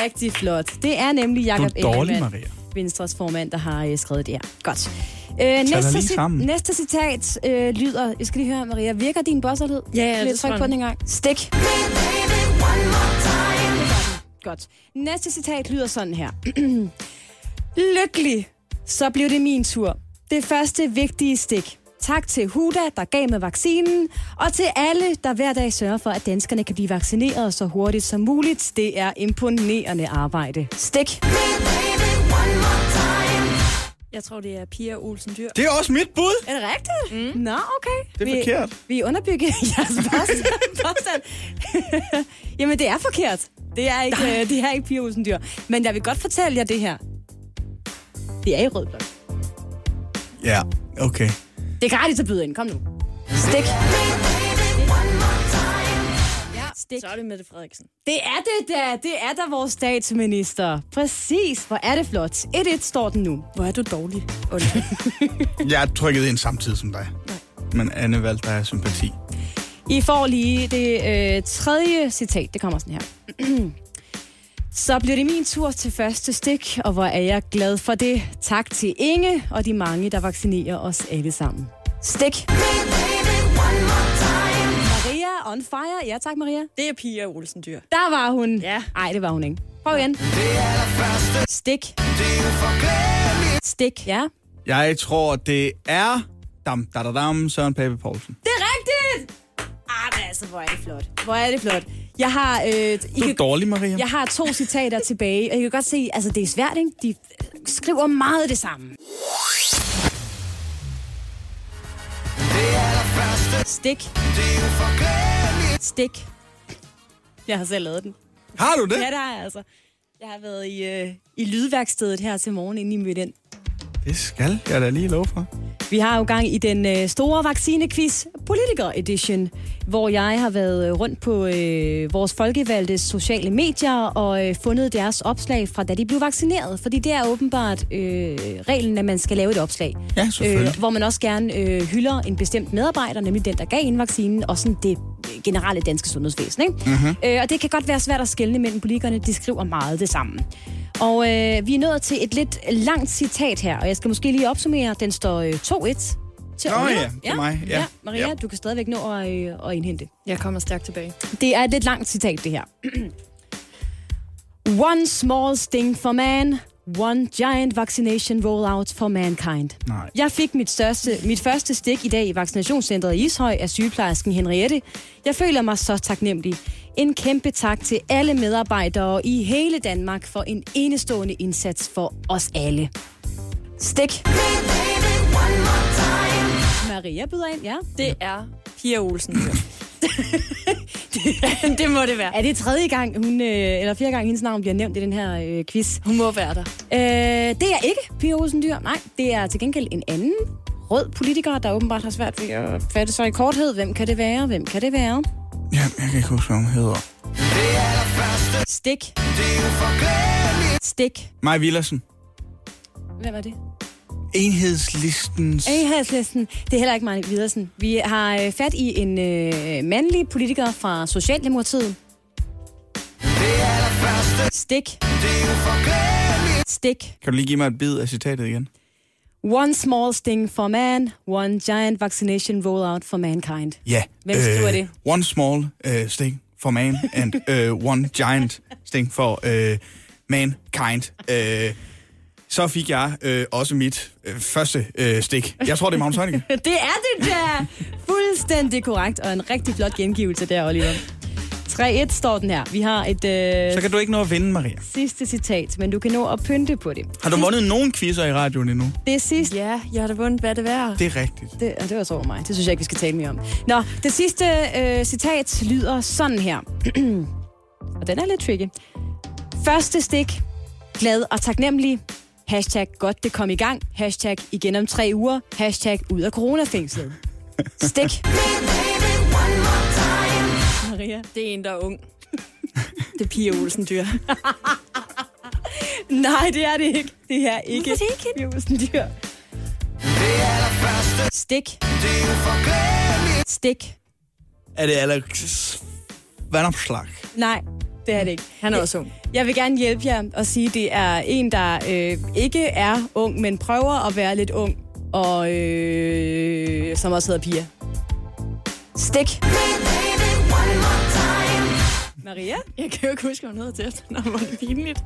D: Rigtig flot. Det er nemlig Jakob
B: Du er dårlig,
D: Ellemann,
B: Maria.
D: Venstres formand, der har øh, skrevet det her. Godt. Øh,
B: dig
D: næste,
B: lige sammen.
D: næste citat øh, lyder... Jeg skal lige høre, Maria. Virker din bosserlyd?
J: Ja, ja,
D: Lidt
J: det
D: tryk
J: tror
D: på
J: jeg.
D: den engang. Stik. Godt. Næste citat lyder sådan her. Lykkelig, så blev det min tur. Det første vigtige stik. Tak til Huda, der gav mig vaccinen, og til alle, der hver dag sørger for, at danskerne kan blive vaccineret så hurtigt som muligt. Det er imponerende arbejde. Stik.
J: Jeg tror, det er Pia Olsen Dyr.
B: Det er også mit bud.
D: Er det rigtigt? Mm. Nå, okay.
B: Det er
D: vi,
B: forkert.
D: Vi underbygger jeres påstand. påstand. Jamen, det er forkert. Det er ikke, øh, det er ikke Pia Olsen Dyr. Men jeg vil godt fortælle jer det her. Det er i rød blok.
B: Ja, okay.
D: Det er gratis at byde ind. Kom nu. Stik. Ja, Stik.
J: Så er det Mette Frederiksen.
D: Det er det da. Det er da vores statsminister. Præcis. Hvor er det flot. 1-1 står den nu.
J: Hvor er du dårlig, Oliver.
B: Jeg trykkede ind samtidig som dig. Men Anne valgte dig af sympati.
D: I får lige det øh, tredje citat. Det kommer sådan her. Så bliver det min tur til første stik, og hvor er jeg glad for det. Tak til Inge og de mange, der vaccinerer os alle sammen. Stik. Maria on fire. Ja tak, Maria.
J: det er Pia Olsen Dyr.
D: Der var hun.
J: Ja.
D: Nej, det var hun ikke. Prøv igen. Stik. Stik. Ja.
B: Jeg tror, det er... Dam, da, da, dam, Søren Pape Poulsen.
D: Det er rigtigt! Ah, men altså, hvor er det flot. Hvor er det flot. Jeg har, øh, I
B: Du er
D: kan,
B: dårlig, Maria.
D: jeg har to citater tilbage, og I kan godt se, altså det er svært, ikke? De skriver meget det samme. Stik. Stik. Jeg har selv lavet den.
B: Har du det?
D: Ja, det har jeg altså. Jeg har været i, øh, i lydværkstedet her til morgen, inden I mødte ind.
B: Det skal jeg da lige love for.
D: Vi har jo gang i den øh, store vaccinequiz Politiker Edition, hvor jeg har været øh, rundt på øh, vores folkevalgte sociale medier og øh, fundet deres opslag fra da de blev vaccineret. Fordi det er åbenbart øh, reglen, at man skal lave et opslag. Øh,
B: Ja, selvfølgelig.
D: hvor man også gerne øh, hylder en bestemt medarbejder, nemlig den, der gav en vaccinen, og sådan det generelle danske sundhedsvæsen. Ikke? Mm-hmm. Øh, og det kan godt være svært at skelne mellem politikerne. De skriver meget det samme. Og øh, vi er nået til et lidt langt citat her, og jeg skal måske lige opsummere. Den står øh, 2-1 til
B: Nå
D: Oliver.
B: ja, til mig, ja.
D: ja Maria,
B: Ja.
D: du kan stadigvæk nå at, øh, at indhente.
J: Jeg kommer stærkt tilbage.
D: Det er et lidt langt citat, det her. one small sting for man, one giant vaccination rollout for mankind.
B: Nej.
D: Jeg fik mit, største, mit første stik i dag i vaccinationscentret i Ishøj af sygeplejersken Henriette. Jeg føler mig så taknemmelig. En kæmpe tak til alle medarbejdere i hele Danmark for en enestående indsats for os alle. Stik. Maria byder ind, ja.
J: Det er Pia Olsen Dyr. det må det være.
D: Er det tredje gang, hun, øh, eller fjerde gang, hendes navn bliver nævnt i den her øh, quiz?
J: Hun må være der.
D: Øh, det er ikke Pia Olsen Dyr. Nej, det er til gengæld en anden rød politiker, der åbenbart har svært ved at fatte sig i korthed. Hvem kan det være? Hvem kan det være?
B: Ja, jeg kan ikke huske, hvad hun hedder.
D: Stik. Stik.
B: Maja Villersen.
D: Hvem er det?
B: Enhedslistens...
D: Enhedslisten. Det er heller ikke Marne Vidersen. Vi har øh, fat i en øh, mandlig politiker fra Socialdemokratiet. Stik. Stik.
B: Kan du lige give mig et bid af citatet igen?
D: One small sting for man, one giant vaccination rollout for mankind.
B: Ja. øh,
D: Hvem skriver det?
B: One small uh, sting for man, and uh, one giant sting for uh, mankind. Uh, så fik jeg øh, også mit øh, første øh, stik. Jeg tror, det er Magnus Heunicke.
D: Det er det der! Fuldstændig korrekt, og en rigtig flot gengivelse der, Oliver. 3-1 står den her. Vi har et
B: Så
D: øh,
B: kan du ikke nå at vinde, Maria.
D: sidste citat, men du kan nå at pynte på det.
B: Har du vundet nogen quizzer i radioen endnu?
D: Det er sidste...
J: Ja, jeg har da vundet, hvad det værd.
B: Det er rigtigt.
D: Det, og det var så over mig. Det synes jeg ikke, vi skal tale mere om. Nå, det sidste øh, citat lyder sådan her. og den er lidt tricky. Første stik. Glad og taknemmelig. Hashtag godt det kom i gang. Hashtag igen om tre uger. Hashtag ud af coronafængslet. Stik.
J: Maria. Det er en, der er ung. det er Pia Olsen Dyr.
D: Nej, det er det ikke. Det er ikke. Hvorfor det ikke? Olsen Dyr. Stik. Stik.
B: Er det Alex Vandopslag?
D: Nej, det er det ikke.
J: Han er også ung.
D: Jeg vil gerne hjælpe jer og sige, at det er en, der øh, ikke er ung, men prøver at være lidt ung, og øh, som også hedder Pia. Stik. Maria?
J: Jeg kan jo ikke huske, hvad hun hedder til efternavn, hvor det er pinligt.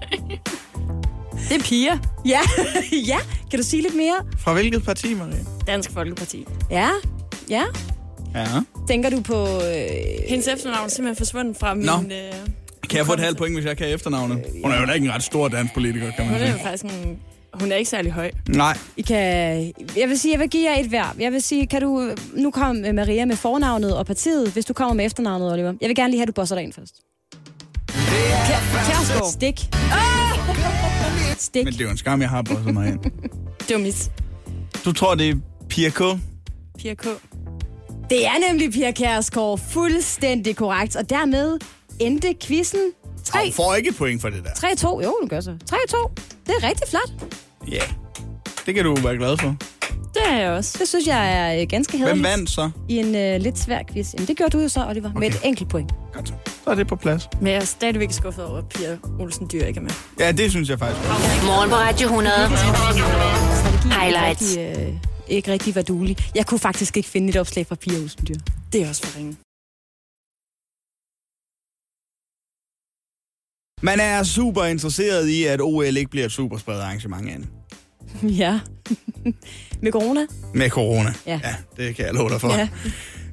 J: det er Pia.
D: Ja. ja, kan du sige lidt mere?
B: Fra hvilket parti, Maria?
J: Dansk Folkeparti.
D: Ja, ja.
B: Ja.
D: Tænker du på... Øh,
J: Hendes efternavn er simpelthen forsvundet fra min...
B: Nå.
J: Øh,
B: Kan jeg få et halvt point, hvis jeg kan efternavnet? Øh, Hun er jo da ikke en ret stor dansk politiker, kan
J: hun
B: man
J: er jo
B: sige.
J: faktisk en... Hun er ikke særlig høj.
B: Nej.
D: I kan, jeg vil sige, jeg vil give jer et hver. Jeg vil sige, kan du... Nu kom øh, Maria med fornavnet og partiet, hvis du kommer med efternavnet, Oliver. Jeg vil gerne lige have, at du bosser dig ind først. Kærsgaard. Stik. Stik.
B: Men det er jo en skam, jeg har bosset mig ind.
J: Det var mit
B: Du tror, det er Pia K?
J: Pia K.
D: Det er nemlig Pia Kærsgaard. Fuldstændig korrekt. Og dermed endte quizzen
B: Hun
D: 3-2.
B: får ikke et point for det der.
D: 3-2. Jo, du gør så. 3-2. Det er rigtig flot.
B: Ja. Det kan du være glad for.
J: Det er jeg også.
D: Det synes jeg er øh, ganske hæderligt.
B: Hvem vandt så?
D: I en øh, lidt svær quiz. Jamen, det gjorde du jo så, Oliver, okay. med et enkelt point.
B: Godt så. Så er det på plads.
J: Men jeg er stadigvæk skuffet over, at Pia Olsen Dyr ikke er med.
B: Ja, det synes jeg faktisk.
A: Morgen på Radio 100. Highlights.
D: Ikke rigtig, øh, ikke rigtig var duelig. Jeg kunne faktisk ikke finde et opslag fra Pia Olsen Dyr.
J: Det er også for ringe.
B: Man er super interesseret i, at OL ikke bliver et superspredt arrangement Anne.
D: ja. med corona?
B: Med corona.
D: Ja.
B: ja. det kan jeg love dig for.
D: Ja.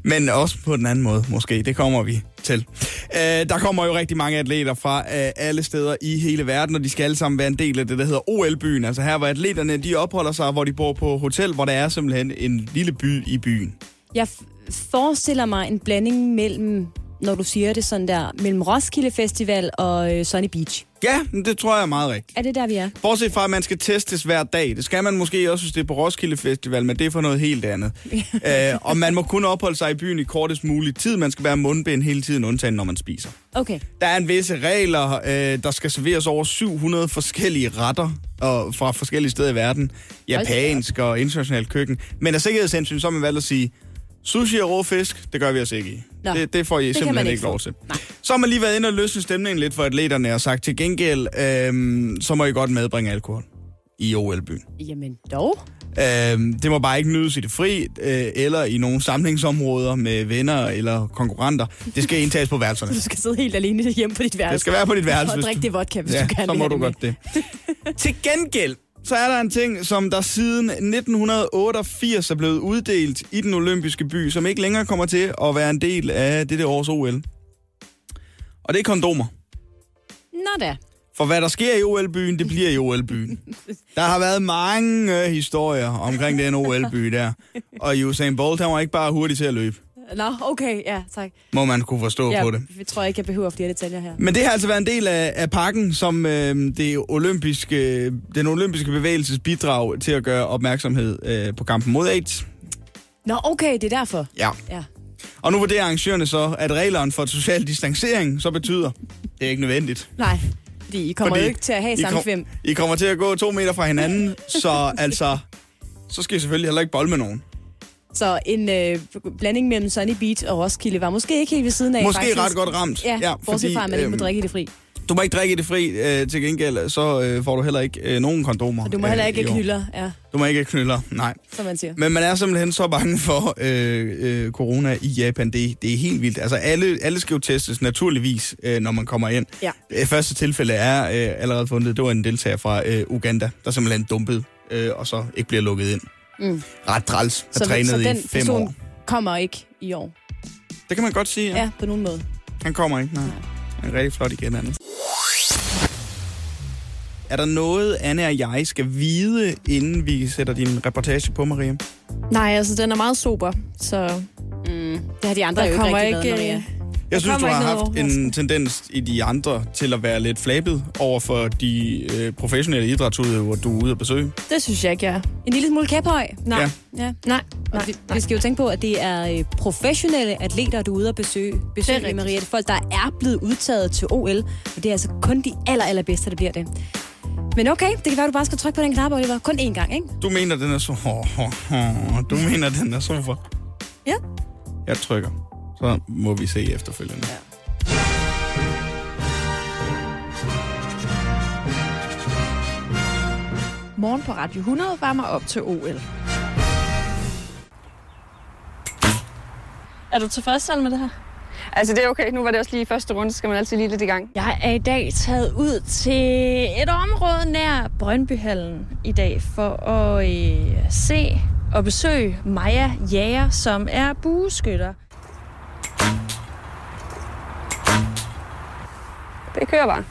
B: Men også på den anden måde, måske. Det kommer vi til. Øh, der kommer jo rigtig mange atleter fra øh, alle steder i hele verden, og de skal alle sammen være en del af det, der hedder OL-byen. Altså her, hvor atleterne de opholder sig, hvor de bor på hotel, hvor der er simpelthen en lille by i byen.
D: Jeg f- forestiller mig en blanding mellem, når du siger det sådan der, mellem Roskilde Festival og øh, Sunny Beach.
B: Ja, men det tror jeg er meget rigtigt.
D: Er det der, vi er?
B: Bortset fra, at man skal testes hver dag. Det skal man måske også, hvis det er på Roskilde Festival, men det er for noget helt andet. øh, og man må kun opholde sig i byen i kortest mulig tid. Man skal være mundbind hele tiden, undtagen når man spiser.
D: Okay.
B: Der er en visse regler, øh, der skal serveres over 700 forskellige retter og fra forskellige steder i verden. Japansk og internationalt køkken. Men af sikkerhedshensyn, så har man valgt at sige, sushi og rå fisk, det gør vi os ikke i.
D: Nå,
B: Det, det får I
D: det kan
B: simpelthen
D: man
B: ikke,
D: ikke
B: ikke lov
D: få.
B: til. Nej. Så har man lige været inde og løsne stemningen lidt for atleterne og sagt til gengæld, øh, så må I godt medbringe alkohol i OL-byen.
D: Jamen dog.
B: Øhm, det må bare ikke nydes i det fri, øh, eller i nogle samlingsområder med venner eller konkurrenter. Det skal indtages på værelserne.
D: Du skal sidde helt alene hjemme på dit værelse.
B: Det skal være på dit værelse,
D: Og
B: hvis
D: drikke
B: du-
D: det vodka, hvis
B: ja,
D: du gerne
B: så
D: vil
B: må
D: have
B: du
D: det
B: godt det. Til gengæld, så er der en ting, som der siden 1988 er blevet uddelt i den olympiske by, som ikke længere kommer til at være en del af dette års OL. Og det er kondomer.
D: Nå da.
B: For hvad der sker i OL-byen, det bliver i OL-byen. Der har været mange øh, historier omkring den OL-by der. Og Usain Bolt, han var ikke bare hurtig til at løbe,
D: Nå, okay, ja, tak.
B: må man kunne forstå
D: Jeg
B: på det.
D: tror ikke, jeg behøver flere detaljer her.
B: Men det har altså været en del af, af pakken, som øh, det olympiske, den olympiske bevægelses bidrag til at gøre opmærksomhed øh, på kampen mod AIDS.
D: Nå, okay, det er derfor.
B: Ja.
D: Ja.
B: Og nu vurderer arrangørerne så, at reglerne for social distancering så betyder, det er ikke nødvendigt.
D: Nej, fordi I kommer
B: Fordi
D: jo ikke til at have
B: I, kom,
D: samkvem.
B: I kommer til at gå to meter fra hinanden, så altså, så skal I selvfølgelig heller ikke bolde med nogen.
D: Så en øh, blanding mellem Sunny Beach og Roskilde var måske ikke helt ved siden af.
B: Måske
D: faktisk.
B: ret godt ramt. øhm,
D: Ja, ja bortset fra, at man ikke må drikke i det fri.
B: Du må ikke drikke i det fri. Øh, til gengæld, så øh, får du heller ikke øh, nogen kondomer.
D: Du må heller
B: øh,
D: ikke
B: i år.
D: knylder, ja,
B: Du må ikke knyller, nej.
D: som man siger.
B: Men man er simpelthen så bange for øh, øh, corona i Japan. Det, det er helt vildt. Altså, alle, alle skal jo testes naturligvis, øh, når man kommer ind.
D: Ja.
B: Det første tilfælde er øh, allerede fundet. Det var en deltager fra øh, Uganda, der simpelthen dumpede øh, og så ikke bliver lukket ind.
D: Mm.
B: Ret træls. Har trænet
D: så den
B: i fem
D: person
B: år.
D: kommer ikke i år.
B: Det kan man godt sige, ja.
D: Ja.
B: ja.
D: ja, på nogen måde.
B: Han kommer ikke, nej. Han er rigtig flot igen, Anne. Er der noget, Anne og jeg skal vide, inden vi sætter din reportage på, Maria?
J: Nej, altså den er meget sober, så
A: Mm.
D: Det har de andre
J: der
D: jo ikke
J: kommer
D: rigtig
J: ikke...
D: været noget
A: øh,
J: ikke
D: af.
B: Jeg synes, du
J: kommer
B: har
J: ikke noget
B: haft en
J: overraskende.
B: tendens i de andre til at være lidt flabet over for de øh, professionelle idrætsudøvere, du er ude at besøge.
J: det synes jeg ikke, jeg er.
D: En lille smule kæphøj.
J: Nej,
B: Ja.
J: ja.
D: Ja.
J: nej,
D: Og
J: nej,
D: vi,
J: nej.
D: vi skal jo tænke på, at det er øh, professionelle atleter, du er ude at besøge, besøge
J: Det er
D: det
J: rigtigt.
D: Maria. Det er folk, der er blevet udtaget til OL, og det er altså kun de aller, allerbedste, der bliver det. Men okay, det kan være, du bare skal trykke på den knap, Oliver. Kun én gang, ikke?
B: Du mener, den er så... Oh, oh, oh. Du mener, den er så for...
D: Ja.
B: Jeg trykker. Så må vi se efterfølgende.
J: Morgen på Radio 100 varmer op til OL. Er du tilfreds med det her?
K: Altså det er okay, nu var det også lige første runde, så skal man altid lige lidt i gang.
J: Jeg er i dag taget ud til et område nær Brøndbyhallen i dag for at øh, se og besøge Maja Jager, som er bueskytter.
K: Det kører bare.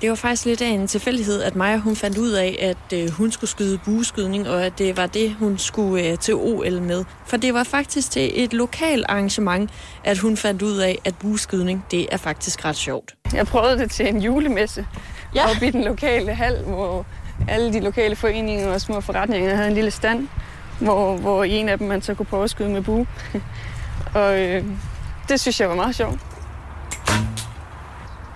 J: Det var faktisk lidt af en tilfældighed, at Maja hun fandt ud af, at øh, hun skulle skyde bueskydning, og at det var det, hun skulle øh, til OL med. For det var faktisk til et lokal arrangement, at hun fandt ud af, at bueskydning, det er faktisk ret sjovt.
K: Jeg prøvede det til en julemesse
J: Ja.
K: ja. oppe i den lokale hal, hvor alle de lokale foreninger og små forretninger havde en lille stand, hvor, hvor i en af dem man så kunne prøve at skyde med bue. og øh, det synes jeg var meget sjovt.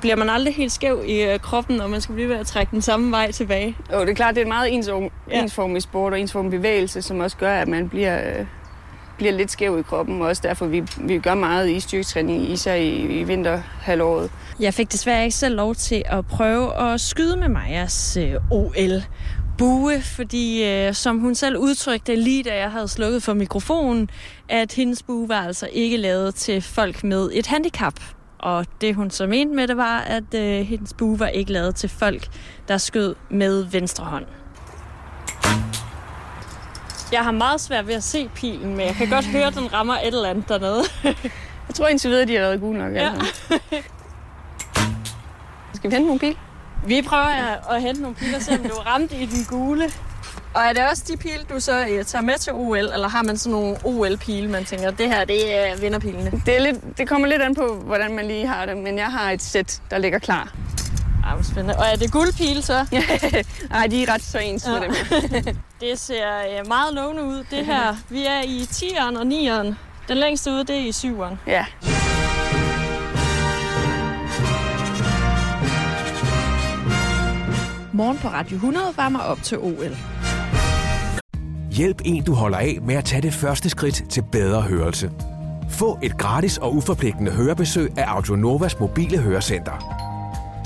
J: Bliver man aldrig helt skæv i øh, kroppen, når man skal blive ved at trække den samme vej tilbage?
K: Jo, det er klart, det er en meget ensom,
J: Ja.
K: ja. ensformig sport og ensformig bevægelse, som også gør, at man bliver, øh, bliver lidt skæv i kroppen, og også derfor vi, vi gør meget i styrketræning, især i, i vinterhalvåret.
J: Jeg fik desværre ikke selv lov til at prøve at skyde med Majas øh, OL bue, fordi øh, som hun selv udtrykte lige da jeg havde slukket for mikrofonen, at hendes bue var altså ikke lavet til folk med et handicap. Og det hun så mente med det var, at øh, hendes bue var ikke lavet til folk, der skød med venstre hånd. Jeg har meget svært ved at se pilen, men jeg kan godt høre, at den rammer et eller andet dernede.
K: Jeg tror indtil videre, de har lavet gode nok.
J: Ja.
K: Altså. Skal vi hente nogle pil?
J: Vi prøver at, at hente nogle piler, selvom du ramte i den gule. Og er det også de pile, du så øh, tager med til OL, eller har man sådan nogle OL-pile, man tænker, det her, det er vinderpilene?
K: Det, er lidt, det kommer lidt an på, hvordan man lige har det, men jeg har et sæt, der ligger klar.
J: Ej, hvor spændende. Og er det guldpile så?
K: Ej, de er ret så ens med
J: Ja.
K: dem.
J: Det ser øh, meget lovende ud, det her. Vi er i 10'eren og 9'eren. Den længste ude, det er i 7'eren.
K: Ja.
J: Morgen på Radio 100 varmer op til OL.
H: Hjælp en, du holder af med at tage det første skridt til bedre hørelse. Få et gratis og uforpligtende hørebesøg af Audionovas mobile hørecenter.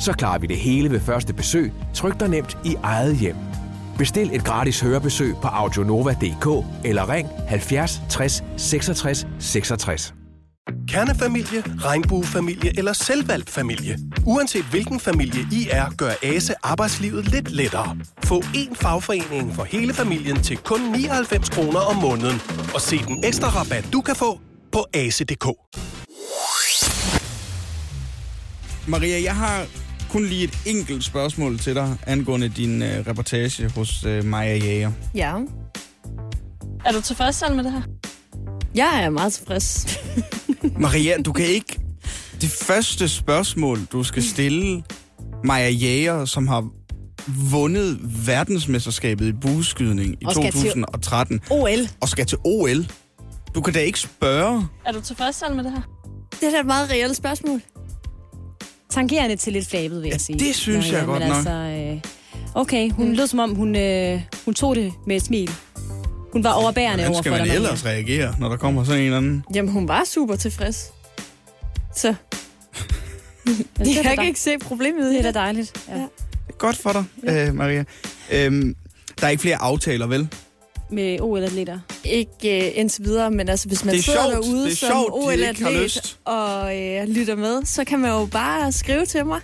H: Så klarer vi det hele ved første besøg, trygt og nemt i eget hjem. Bestil et gratis hørebesøg på audionova.dk eller ring 70 60 66 66.
I: Kernefamilie, regnbuefamilie eller selvvalgt familie. Uanset hvilken familie I er, gør ASE arbejdslivet lidt lettere. Få én fagforening for hele familien til kun 99 kroner om måneden. Og se den ekstra rabat, du kan få på ase.dk.
B: Maria, jeg har kun lige et enkelt spørgsmål til dig angående din øh, reportage hos øh, Maja Jager.
J: Ja. Er du tilfreds Anne, med det her? Jeg er meget tilfreds.
B: Maria, du kan ikke... Det første spørgsmål, du skal stille Maja Jager, som har vundet verdensmesterskabet i bueskydning i
D: Og skal til-
B: 2013,
D: OL.
B: og skal til OL. Du kan da ikke spørge.
J: Er du tilfreds Anne, med det her?
D: Det er da et meget reelt spørgsmål. Tangerende til lidt flabet, vil jeg sige.
B: det synes jeg
D: men
B: godt nok. Mm.
D: Altså, øh, okay, hun lød som om, hun, øh, hun tog det med et smil. Hun var overbærende
B: Hvordan
D: overfor
B: skal
D: dig.
B: man
D: Maria.
B: ellers reagere, når der kommer sådan en eller anden?
J: Jamen, hun var super tilfreds. Så.
D: Men det er
J: Jeg
D: for
J: kan
D: dig.
J: ikke se problemet i
D: Det
J: det.
D: er da dejligt. Ja. ja.
B: Godt for dig, ja. øh, Maria. Øhm, der er ikke flere aftaler, vel?
D: Med OL-atleter.
J: Ikke øh, indtil videre, men altså hvis man
B: Det er
J: sidder
B: sjovt. Det
J: derude
B: er
J: som
B: sjovt, de ikke har
J: OL-atlet
B: lyst.
J: og øh, lytter med, så kan man jo bare skrive til mig.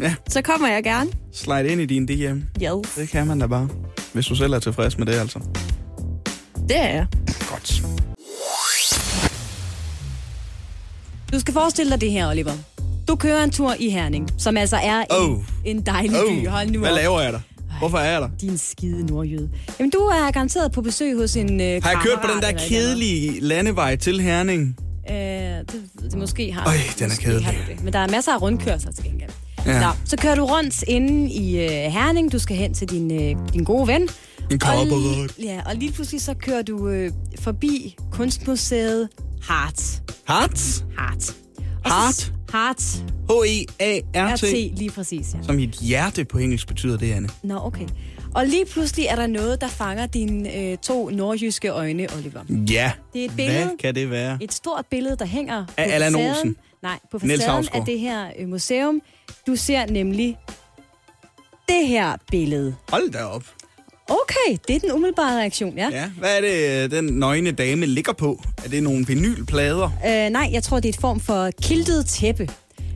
B: Ja.
J: Så kommer jeg gerne.
B: Slide ind i din DM.
J: Ja,
B: Det kan man da bare. Hvis du selv er tilfreds med det, altså.
J: det er jeg.
B: Godt.
D: Du skal forestille dig det her, Oliver. Du kører en tur i Herning, som altså er en,
B: Oh.
D: en dejlig by. Hold nu
B: hvad
D: op.
B: laver jeg der? Hvorfor er jeg der?
D: Din skide nordjyde. Jamen, du er garanteret på besøg hos en øh,
B: Har jeg kørt på
D: kammerat
B: den der
D: eller et eller andet.
B: kedelige landevej til Herning?
D: Øh, det, det måske har
B: Øj,
D: du.
B: den er
D: Måske
B: kedelig.
D: har du det. Men der er masser af rundkørsler til gengæld.
B: Ja.
D: Ja. Nå, så kører du rundt inde i øh, Herning. Du skal hen til din, øh, din gode ven.
B: En
D: Og,
B: kobberrød.
D: li- ja, og lige pludselig så kører du øh, forbi kunstmuseet Hart.
B: Hart?
D: Hart.
B: Hart?
D: Hart.
B: E H-E-A-R-T.
D: RT, lige præcis, ja.
B: Som i et hjerte på engelsk betyder det, Anne.
D: Nå, okay. Og lige pludselig er der noget, der fanger dine øh, to nordjyske øjne, Oliver.
B: Ja.
D: Det er et billede.
B: Hvad kan det være?
D: Et stort billede, der hænger
B: Af
D: på
B: Allan
D: facaden.
B: Olsen.
D: Nej, på
B: Niels
D: facaden af
B: Hausgaard.
D: det her øh, museum. Du ser nemlig det her billede.
B: Hold da op.
D: Okay, det er den umiddelbare reaktion, ja.
B: Ja. Hvad er det, øh, den nøgne dame ligger på? Er det nogle vinylplader?
D: Øh, nej, jeg tror, det er et form for kiltet tæppe.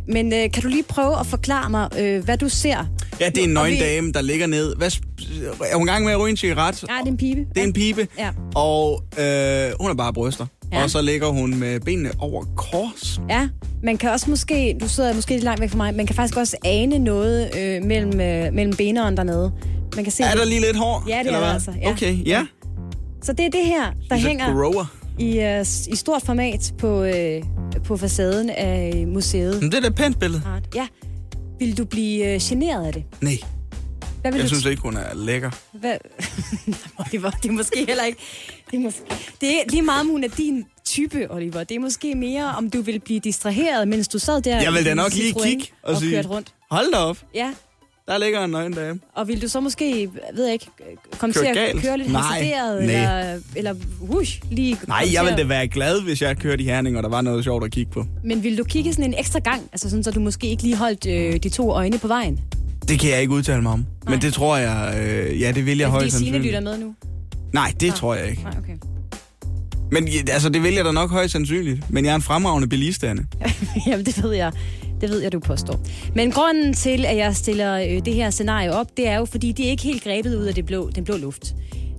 D: Men øh, kan du lige prøve at forklare mig, øh, hvad du ser?
B: Ja, det er en
D: Og
B: nøgen
D: vi-
B: dame, der ligger ned. Hvad, sp- er hun i gang med at ryge en cigaret?
D: Nej, det er en pibe.
B: Det er en pibe,
D: Ja.
B: og øh, hun er bare bryster. Ja.
D: Ja.
B: Og så ligger hun med benene over kors.
D: Ja, man kan også måske, du sidder måske lidt langt væk fra mig, man kan faktisk også ane noget øh, mellem, øh, mellem beneren dernede. Man kan se,
B: Er der lige lidt hår?
D: Ja, det
B: eller
D: er der
B: hvad?
D: altså, ja.
B: Okay, ja.
D: Så det er det her, der
B: She's a
D: hænger
B: grower.
D: i, øh, s- i stort format på, øh, på facaden af museet.
B: Men det er da et pænt billede.
D: Art. Ja. Vil du blive øh, generet af det?
B: Nej,
D: Hvad vil
B: jeg
D: du
B: synes ikke, hun er lækker.
D: Hvad? Oliver, det er måske heller ikke... Det er, måske, det er lige meget, om hun er din type, Oliver. Det er måske mere, om du vil blive distraheret, mens du sad der
B: Jeg vil
D: i
B: da
D: din
B: nok lige
D: Citroën
B: kigge og,
D: og
B: sige,
D: kørte rundt.
B: hold da op,
D: Ja,
B: der ligger en nøgen dame.
D: og vil du så måske, ved jeg ikke, komme
B: Køre
D: til at
B: galt?
D: køre lidt
B: Nej,
D: hasarderet,
B: nej.
D: eller, eller whoosh, lige
B: Nej,
D: komme til
B: jeg ville
D: at-
B: da være glad, hvis jeg kørte i Herning, og der var noget sjovt at kigge på.
D: Men vil du kigge sådan en ekstra gang, altså sådan, så du måske ikke lige holdt øh, de to øjne på vejen?
B: Det kan jeg ikke udtale mig om. Nej. Men det tror jeg, øh, ja, det vil jeg
D: Ja, fordi
B: højst
D: Signe
B: sandsynligt.
D: lytter Ah. med nu.
B: Nej, det tror jeg ikke.
D: Nej, okay.
B: Men ja, altså, det vil jeg da nok højst sandsynligt. Men jeg er en fremragende bilist, Anne.
D: Jamen, det ved jeg. Det ved jeg, du påstår. Men grunden til, at jeg stiller øh, det her scenarie op, det er jo, fordi det er ikke helt grebet ud af det blå, den blå luft.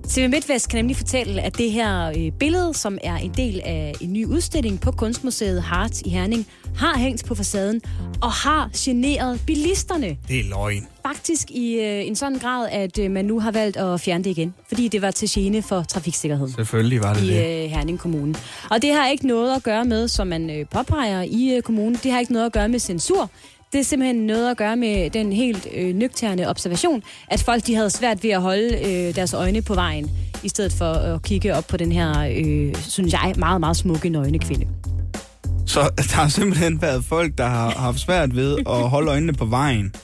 D: TV MidtVest kan nemlig fortælle, at det her øh, billede, som er en del af en ny udstilling på Kunstmuseet Hart i Herning, har hængt på facaden og har generet bilisterne.
B: Det er løgn.
D: Faktisk i øh, en sådan grad, at øh, man nu har valgt at fjerne det igen, fordi det var til gene for trafiksikkerheden
B: Selvfølgelig var det
D: i
B: det.
D: øh, Herning Kommune. Og det har ikke noget at gøre med, som man øh, påpeger i øh, kommunen, det har ikke noget at gøre med censur. Det er simpelthen noget at gøre med den helt øh, nøgterne observation, at folk de havde svært ved at holde øh, deres øjne på vejen, i stedet for at kigge op på den her, øh, synes jeg, meget, meget smukke nøgne kvinde.
B: Så der har simpelthen været folk, der har haft svært ved at holde øjnene på vejen.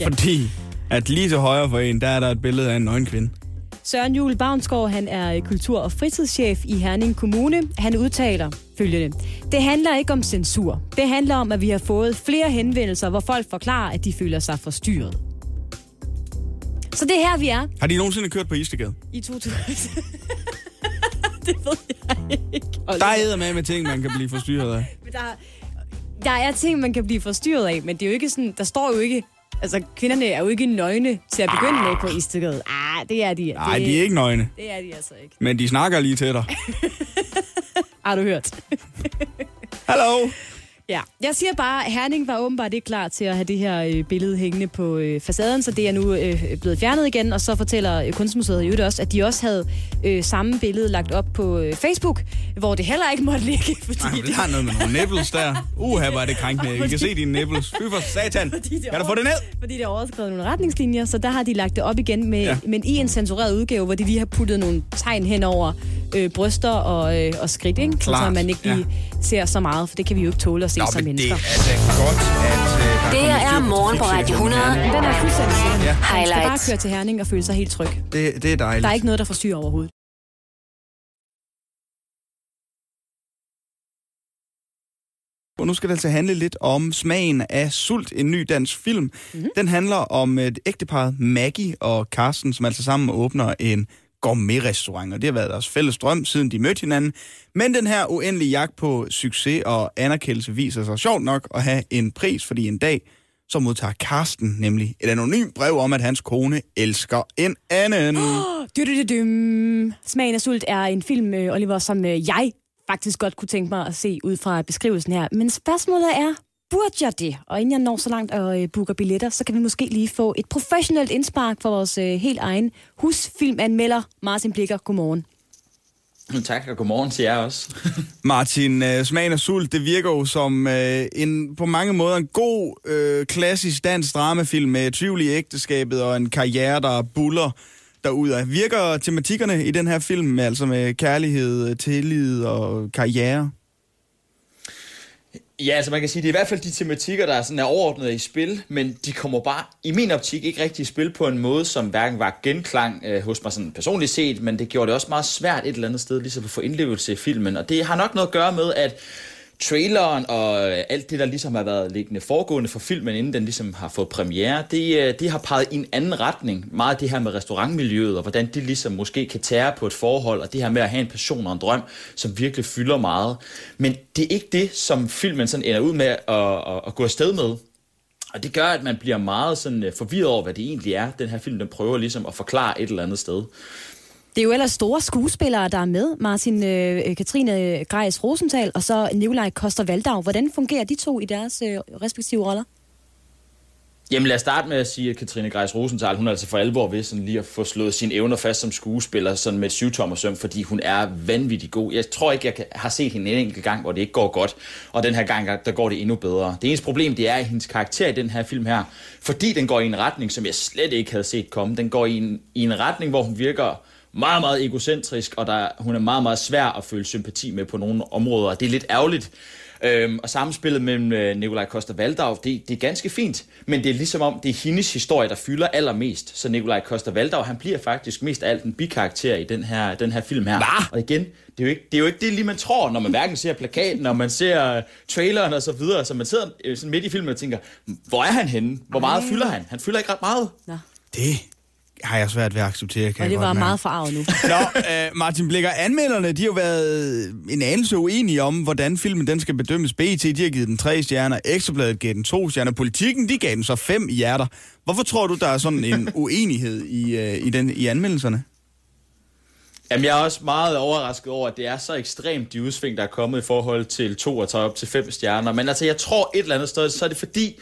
B: ja. Fordi at lige til højre for en, der er der et billede af en nøgen kvinde.
D: Søren Juhl Bavnsgaard, han er øh, kultur- og fritidschef i Herning Kommune. Han udtaler følgende. Det handler ikke om censur. Det handler om, at vi har fået flere henvendelser, hvor folk forklarer, at de føler sig forstyrret. Så det er her, vi er
B: Har de nogensinde kørt på Istegade?
D: i 2000. det ved jeg ikke.
B: Der er med med ting, man kan blive forstyrret af.
D: Men Der, der er ting, man kan blive forstyrret af, men det er jo ikke sådan, der står jo ikke... Altså, kvinderne er jo ikke nøgne til at begynde med på Istegade. Ah, det er de.
B: Nej, de er ikke nøgne.
D: Det er de altså ikke.
B: Men de snakker lige til dig.
D: Har du hørt?
B: Hallo!
D: Ja, jeg siger bare, at Herning var åbenbart ikke klar til at have det her øh, billede hængende på øh, facaden, så det er nu øh, blevet fjernet igen, og så fortæller øh, Kunstmuseet i øvrigt også, at de også havde øh, samme billede lagt op på øh, Facebook, hvor det heller ikke måtte ligge, fordi,
B: Ej, men
D: det,
B: der er noget med nogle nipples der. Uha, hvor er det krænkende. Vi kan se dine nipples. Fy for satan. Kan du få det ned?
D: fordi det er overskrevet nogle retningslinjer, så der har de lagt det op igen, med,
B: Ja.
D: ja. men i en censureret udgave, hvor de lige har puttet nogle tegn hen over øh, bryster og, øh, og skridt, ikke? Sådan, så
B: Klart,
D: man ikke lige ja. ser så meget, for det kan vi jo ikke tåle at se Nå, som mennesker.
B: altså godt, at øh,
A: Det
B: der kommet styr
A: er morgen på Radio 100.
B: trafiksikkerheden
D: Den er fuldstændig sikker.
B: Ja.
D: Man skal bare
A: Highlights.
D: køre til Herning og føle sig helt tryg.
B: her. Det, det er dejligt.
D: Der er ikke noget, der forstyrrer overhovedet.
B: Og nu skal det altså handle lidt om smagen af sult, en ny dansk film. Mm-hmm. Den handler om et ægteparet Maggie og Carsten, som altså sammen åbner en gourmetrestaurant, og det har været deres fælles drøm, siden de mødte hinanden. Men den her uendelige jagt på succes og anerkendelse viser sig sjovt nok at have en pris, fordi en dag så modtager Carsten nemlig et anonymt brev om, at hans kone elsker en anden.
D: Dydydydym. Smagen af sult er en film, øh, Oliver, som øh, jeg faktisk godt kunne tænke mig at se ud fra beskrivelsen her. Men spørgsmålet er, burde jeg det? Og inden jeg når så langt og øh, booker billetter, så kan vi måske lige få et professionelt indspark fra vores øh, helt egen husfilmanmelder, Martin Blikker. Godmorgen.
L: Mm, Tak, og godmorgen til jer også.
B: Martin, øh, smagen af sult, det virker jo som øh, en, på mange måder en god, øh, klassisk dansk dramafilm med tvivl i ægteskabet og en karriere, der buller derudad. Virker tematikkerne i den her film, altså med kærlighed, øh, tillid og karriere?
L: Ja, altså man kan sige, det er i hvert fald de tematikker, der sådan er overordnet i spil, men de kommer bare, i min optik, ikke rigtig i spil på en måde, som hverken var genklang øh, hos mig sådan personligt set, men det gjorde det også meget svært et eller andet sted ligesom at få indlevelse i filmen, og det har nok noget at gøre med, at traileren og øh, alt det, der ligesom har været liggende foregående for filmen, inden den ligesom har fået premiere, det, øh, det har peget i en anden retning. Meget af det her med restaurantmiljøet, og hvordan de ligesom måske kan tære på et forhold, og det her med at have en passion og en drøm, som virkelig fylder meget. Men det er ikke det, som filmen sådan ender ud med at, at, at gå afsted med. Og det gør, at man bliver meget sådan øh, forvirret over, hvad det egentlig er, den her film, den prøver ligesom at forklare et eller andet sted.
D: Det er jo ellers store skuespillere, der er med. Martin øh, Katrine Grejs Rosenthal og så Nikolaj Koster Valdau. Hvordan fungerer de to i deres øh, respektive roller?
L: Jamen lad os starte med at sige, at Katrine Grejs Rosenthal, hun er altså for alvor ved sådan lige at få slået sine evner fast som skuespiller, sådan med et syvtommersøm, fordi hun er vanvittig god. Jeg tror ikke, jeg kan- har set hende en enkelt gang, hvor det ikke går godt, og den her gang, der- der går det endnu bedre. Det eneste problem, det er at hendes karakter i den her film her, fordi den går i en retning, som jeg slet ikke havde set komme. Den går i en, i en retning, hvor hun virker meget, meget egocentrisk, og der, hun er meget, meget svær at føle sympati med på nogle områder, og det er lidt ærgerligt. Øhm, og samspillet mellem øh, Nikolaj Koster Valdau, det, det er ganske fint, men det er ligesom om, det er hendes historie, der fylder allermest. Så Nikolaj Koster Valdau, han bliver faktisk mest af alt en bikarakter i den her, den her film her. Hva? Og igen, det er, jo ikke, det er jo ikke det lige man tror, når man hverken ser plakaten, når man ser øh, traileren og så videre. Så man sidder øh, sådan midt i filmen og tænker, hvor er han henne? Hvor meget
D: Ej.
L: fylder han? Han fylder ikke ret meget.
D: Nå.
B: Det har jeg svært ved at acceptere, kan
D: Og
B: jeg
D: det
B: godt
D: var
B: mærke.
D: meget forarvet nu.
B: Nå, øh, Martin Blikker, anmelderne, de har jo været en anelse uenige om, hvordan filmen den skal bedømmes. BT, de har givet den tre stjerner, Ekstrabladet gav den to stjerner, Politiken, de gav den så fem hjerter. Hvorfor tror du, der er sådan en uenighed i, øh, i, den, i anmeldelserne?
L: Jamen, jeg er også meget overrasket over, at det er så ekstremt de udsving, der er kommet i forhold til to og op til fem stjerner. Men altså, jeg tror et eller andet sted, så er det fordi,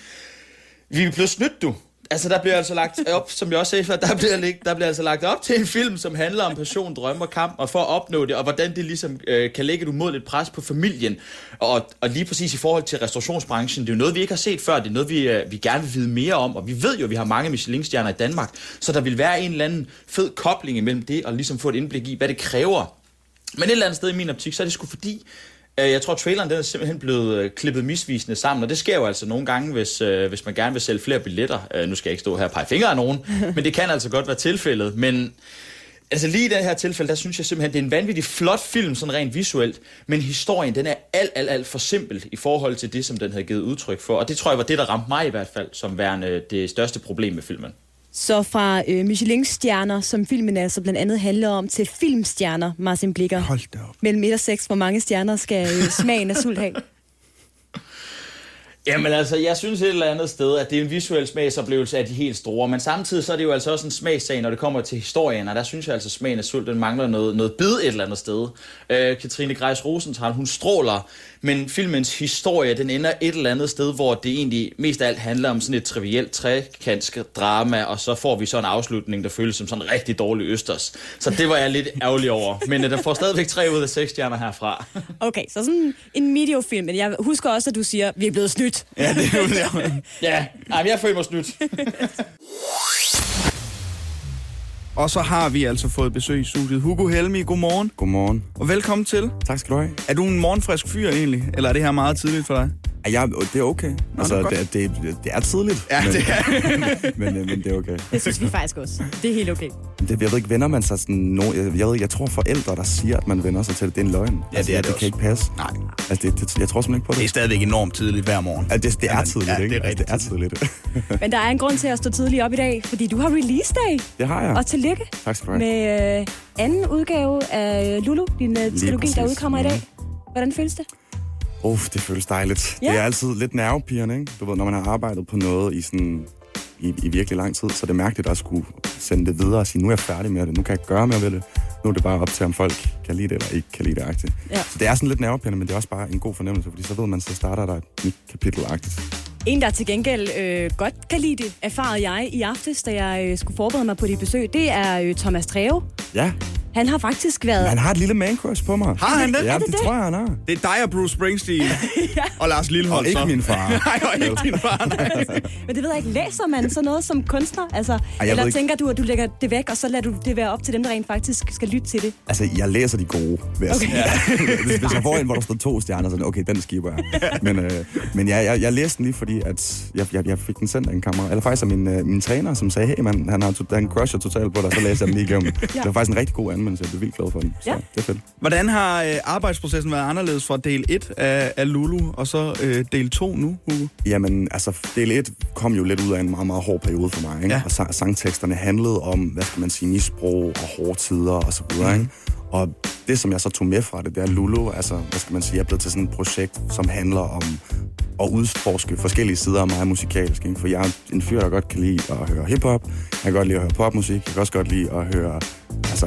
L: vi er blevet snydt, du. Altså, der bliver altså lagt op, som jeg også sagde før, der bliver, lig- der bliver altså lagt op til en film, som handler om passion, drøm og kamp, og for at opnå det, og hvordan det ligesom øh, kan lægge et umådeligt pres på familien. Og, og lige præcis i forhold til restaurationsbranchen, det er jo noget, vi ikke har set før, det er noget, vi, øh, vi gerne vil vide mere om, og vi ved jo, at vi har mange Michelin-stjerner i Danmark, så der vil være en eller anden fed kobling imellem det, og ligesom få et indblik i, hvad det kræver men et eller andet sted i min optik, så er det sgu fordi, øh, jeg tror, traileren den er simpelthen blevet øh, klippet misvisende sammen, og det sker jo altså nogle gange, hvis, øh, hvis man gerne vil sælge flere billetter. Øh, nu skal jeg ikke stå her og pege fingre af nogen, men det kan altså godt være tilfældet. Men altså lige i det her tilfælde, der synes jeg simpelthen, det er en vanvittig flot film, sådan rent visuelt, men historien, den er alt, alt, alt for simpel i forhold til det, som den havde givet udtryk for. Og det tror jeg var det, der ramte mig i hvert fald, som værende det største problem med filmen.
D: Så fra øh, Michelin-stjerner, som filmen altså blandt andet handler om, til filmstjerner, Martin Blikker.
B: Hold da op.
D: Mellem 1 og 6, hvor mange stjerner skal øh, smagen af sult have?
L: Jamen altså, jeg synes et eller andet sted, at det er en visuel smagsoplevelse af de helt store, men samtidig så er det jo altså også en smagssag, når det kommer til historien, og der synes jeg altså, at smagen af sult, den mangler noget, noget bid et eller andet sted. Øh, Katrine Grejs Rosenthal, hun stråler, men filmens historie, den ender et eller andet sted, hvor det egentlig mest af alt handler om sådan et trivielt trekansk drama, og så får vi så en afslutning, der føles som sådan en rigtig dårlig østers. Så det var jeg lidt ærgerlig over, men øh, den får stadigvæk tre ud af seks stjerner herfra.
D: Okay, så sådan en mediofilm. Men jeg husker også, at du siger, at vi er blevet snydt.
B: Ja, det er jo
L: Ja, ej, men jeg føler mig snydt.
B: Og så har vi altså fået besøg i studiet. Hugo Helmi, godmorgen.
M: Godmorgen.
B: Og velkommen til.
M: Tak skal du have.
B: Er du en morgenfrisk fyr egentlig, eller er det her meget tidligt for dig?
M: Ej, Jeg, det er okay. altså,
D: det er
M: det,
D: godt.
M: det, det, det er tidligt.
B: Ja,
M: men,
B: det
M: er. men, øh, men det er okay.
D: Det synes vi faktisk også. Det er helt okay.
M: Det, jeg ved ikke, vender man sig sådan... No, jeg, jeg, ved, ikke, jeg tror forældre, der siger, at man vender sig til det, det er en løgn. Ja, altså,
B: det er
M: det
B: det
M: kan ikke passe. Nej. Altså, det, det, jeg tror simpelthen ikke på det. Det er
B: stadigvæk enormt tidligt hver morgen.
M: Altså, det, det er tidligt, ja, ikke? Det er, altså, det er tidligt.
D: Men der er en grund til at stå tidligt op i dag, fordi du har release day.
M: Det har jeg.
D: Og tillykke
M: Tak skal du have.
D: med øh, anden udgave af Lulu, din øh, trilogi, der
M: præcis. Mm.
D: udkommer i dag. Hvordan føles det?
M: Uff, det føles dejligt.
D: Ja.
M: Ja. Det er altid lidt nervepirrende, ikke? Du ved, når man har arbejdet på noget i sådan i, i virkelig lang tid, så er det mærkeligt at skulle sende det videre og sige, nu er jeg færdig med det, nu kan jeg gøre mere ved det. Nu er det bare op til, om folk kan lide det eller ikke kan lide det. -agtigt.
D: Ja.
M: Så det er sådan lidt nervepirrende, men det er også bare en god fornemmelse, fordi så ved man, så starter der et nyt kapitel -agtigt.
D: En, der til gengæld øh, godt kan lide det, erfarede jeg i aftes, da jeg øh, skulle forberede mig på dit besøg, det er øh, Thomas Treve.
M: Ja,
D: Han har faktisk været...
M: men han har et lille man crush på mig.
B: Har han det?
M: Ja,
B: Er
M: det,
B: det
M: det,
B: det?
M: tror jeg, han har.
B: Det er dig og Bruce Springsteen ja. og Lars Lillehold
M: Og ikke
B: så.
M: min far.
B: Nej, og ikke din far.
D: Men det ved jeg ikke, læser man sådan noget som kunstner? Altså,
M: jeg
D: eller
M: ved ikke.
D: tænker du, at du lægger det væk, og så lader du det være op til dem, der rent faktisk skal lytte til det?
M: Altså, jeg læser de gode, vil jeg
D: Okay.
M: sige. Hvis- Hvis jeg får en, hvor der står to stjerner, så er det, okay, den skiber jeg. Men, øh, men jeg, jeg, jeg læste den lige, fordi at jeg, jeg, jeg fik den sendt af en kammerat. Eller faktisk af min, øh, min træner, som sagde, hey man, han, har to, han crusher totalt på dig, så læser jeg den lige igennem.
B: Ja.
M: ja. Det var faktisk en rigtig god anmeldelse, jeg blev vildt glad for den. Så
B: Ja.
M: ja. det er fedt.
B: Hvordan har øh, arbejdsprocessen været anderledes fra del 1 af, af Lulu, og så øh, del 2 nu, Hugo?
M: Jamen, altså, del 1 kom jo lidt ud af en meget, meget hård periode for mig, ikke? Ja. Og sa- sangteksterne handlede om, hvad skal man sige, misbrug og hårde tider og så videre, ikke? Og det, som jeg så tog med fra det, det er Lulu, altså, hvad skal man sige, jeg er blevet til sådan et projekt, som handler om at udforske forskellige sider af mig musikalsk, ikke? For jeg er en fyr, der godt kan lide at høre hiphop, jeg kan godt lide at høre popmusik, jeg kan også godt lide at høre, altså,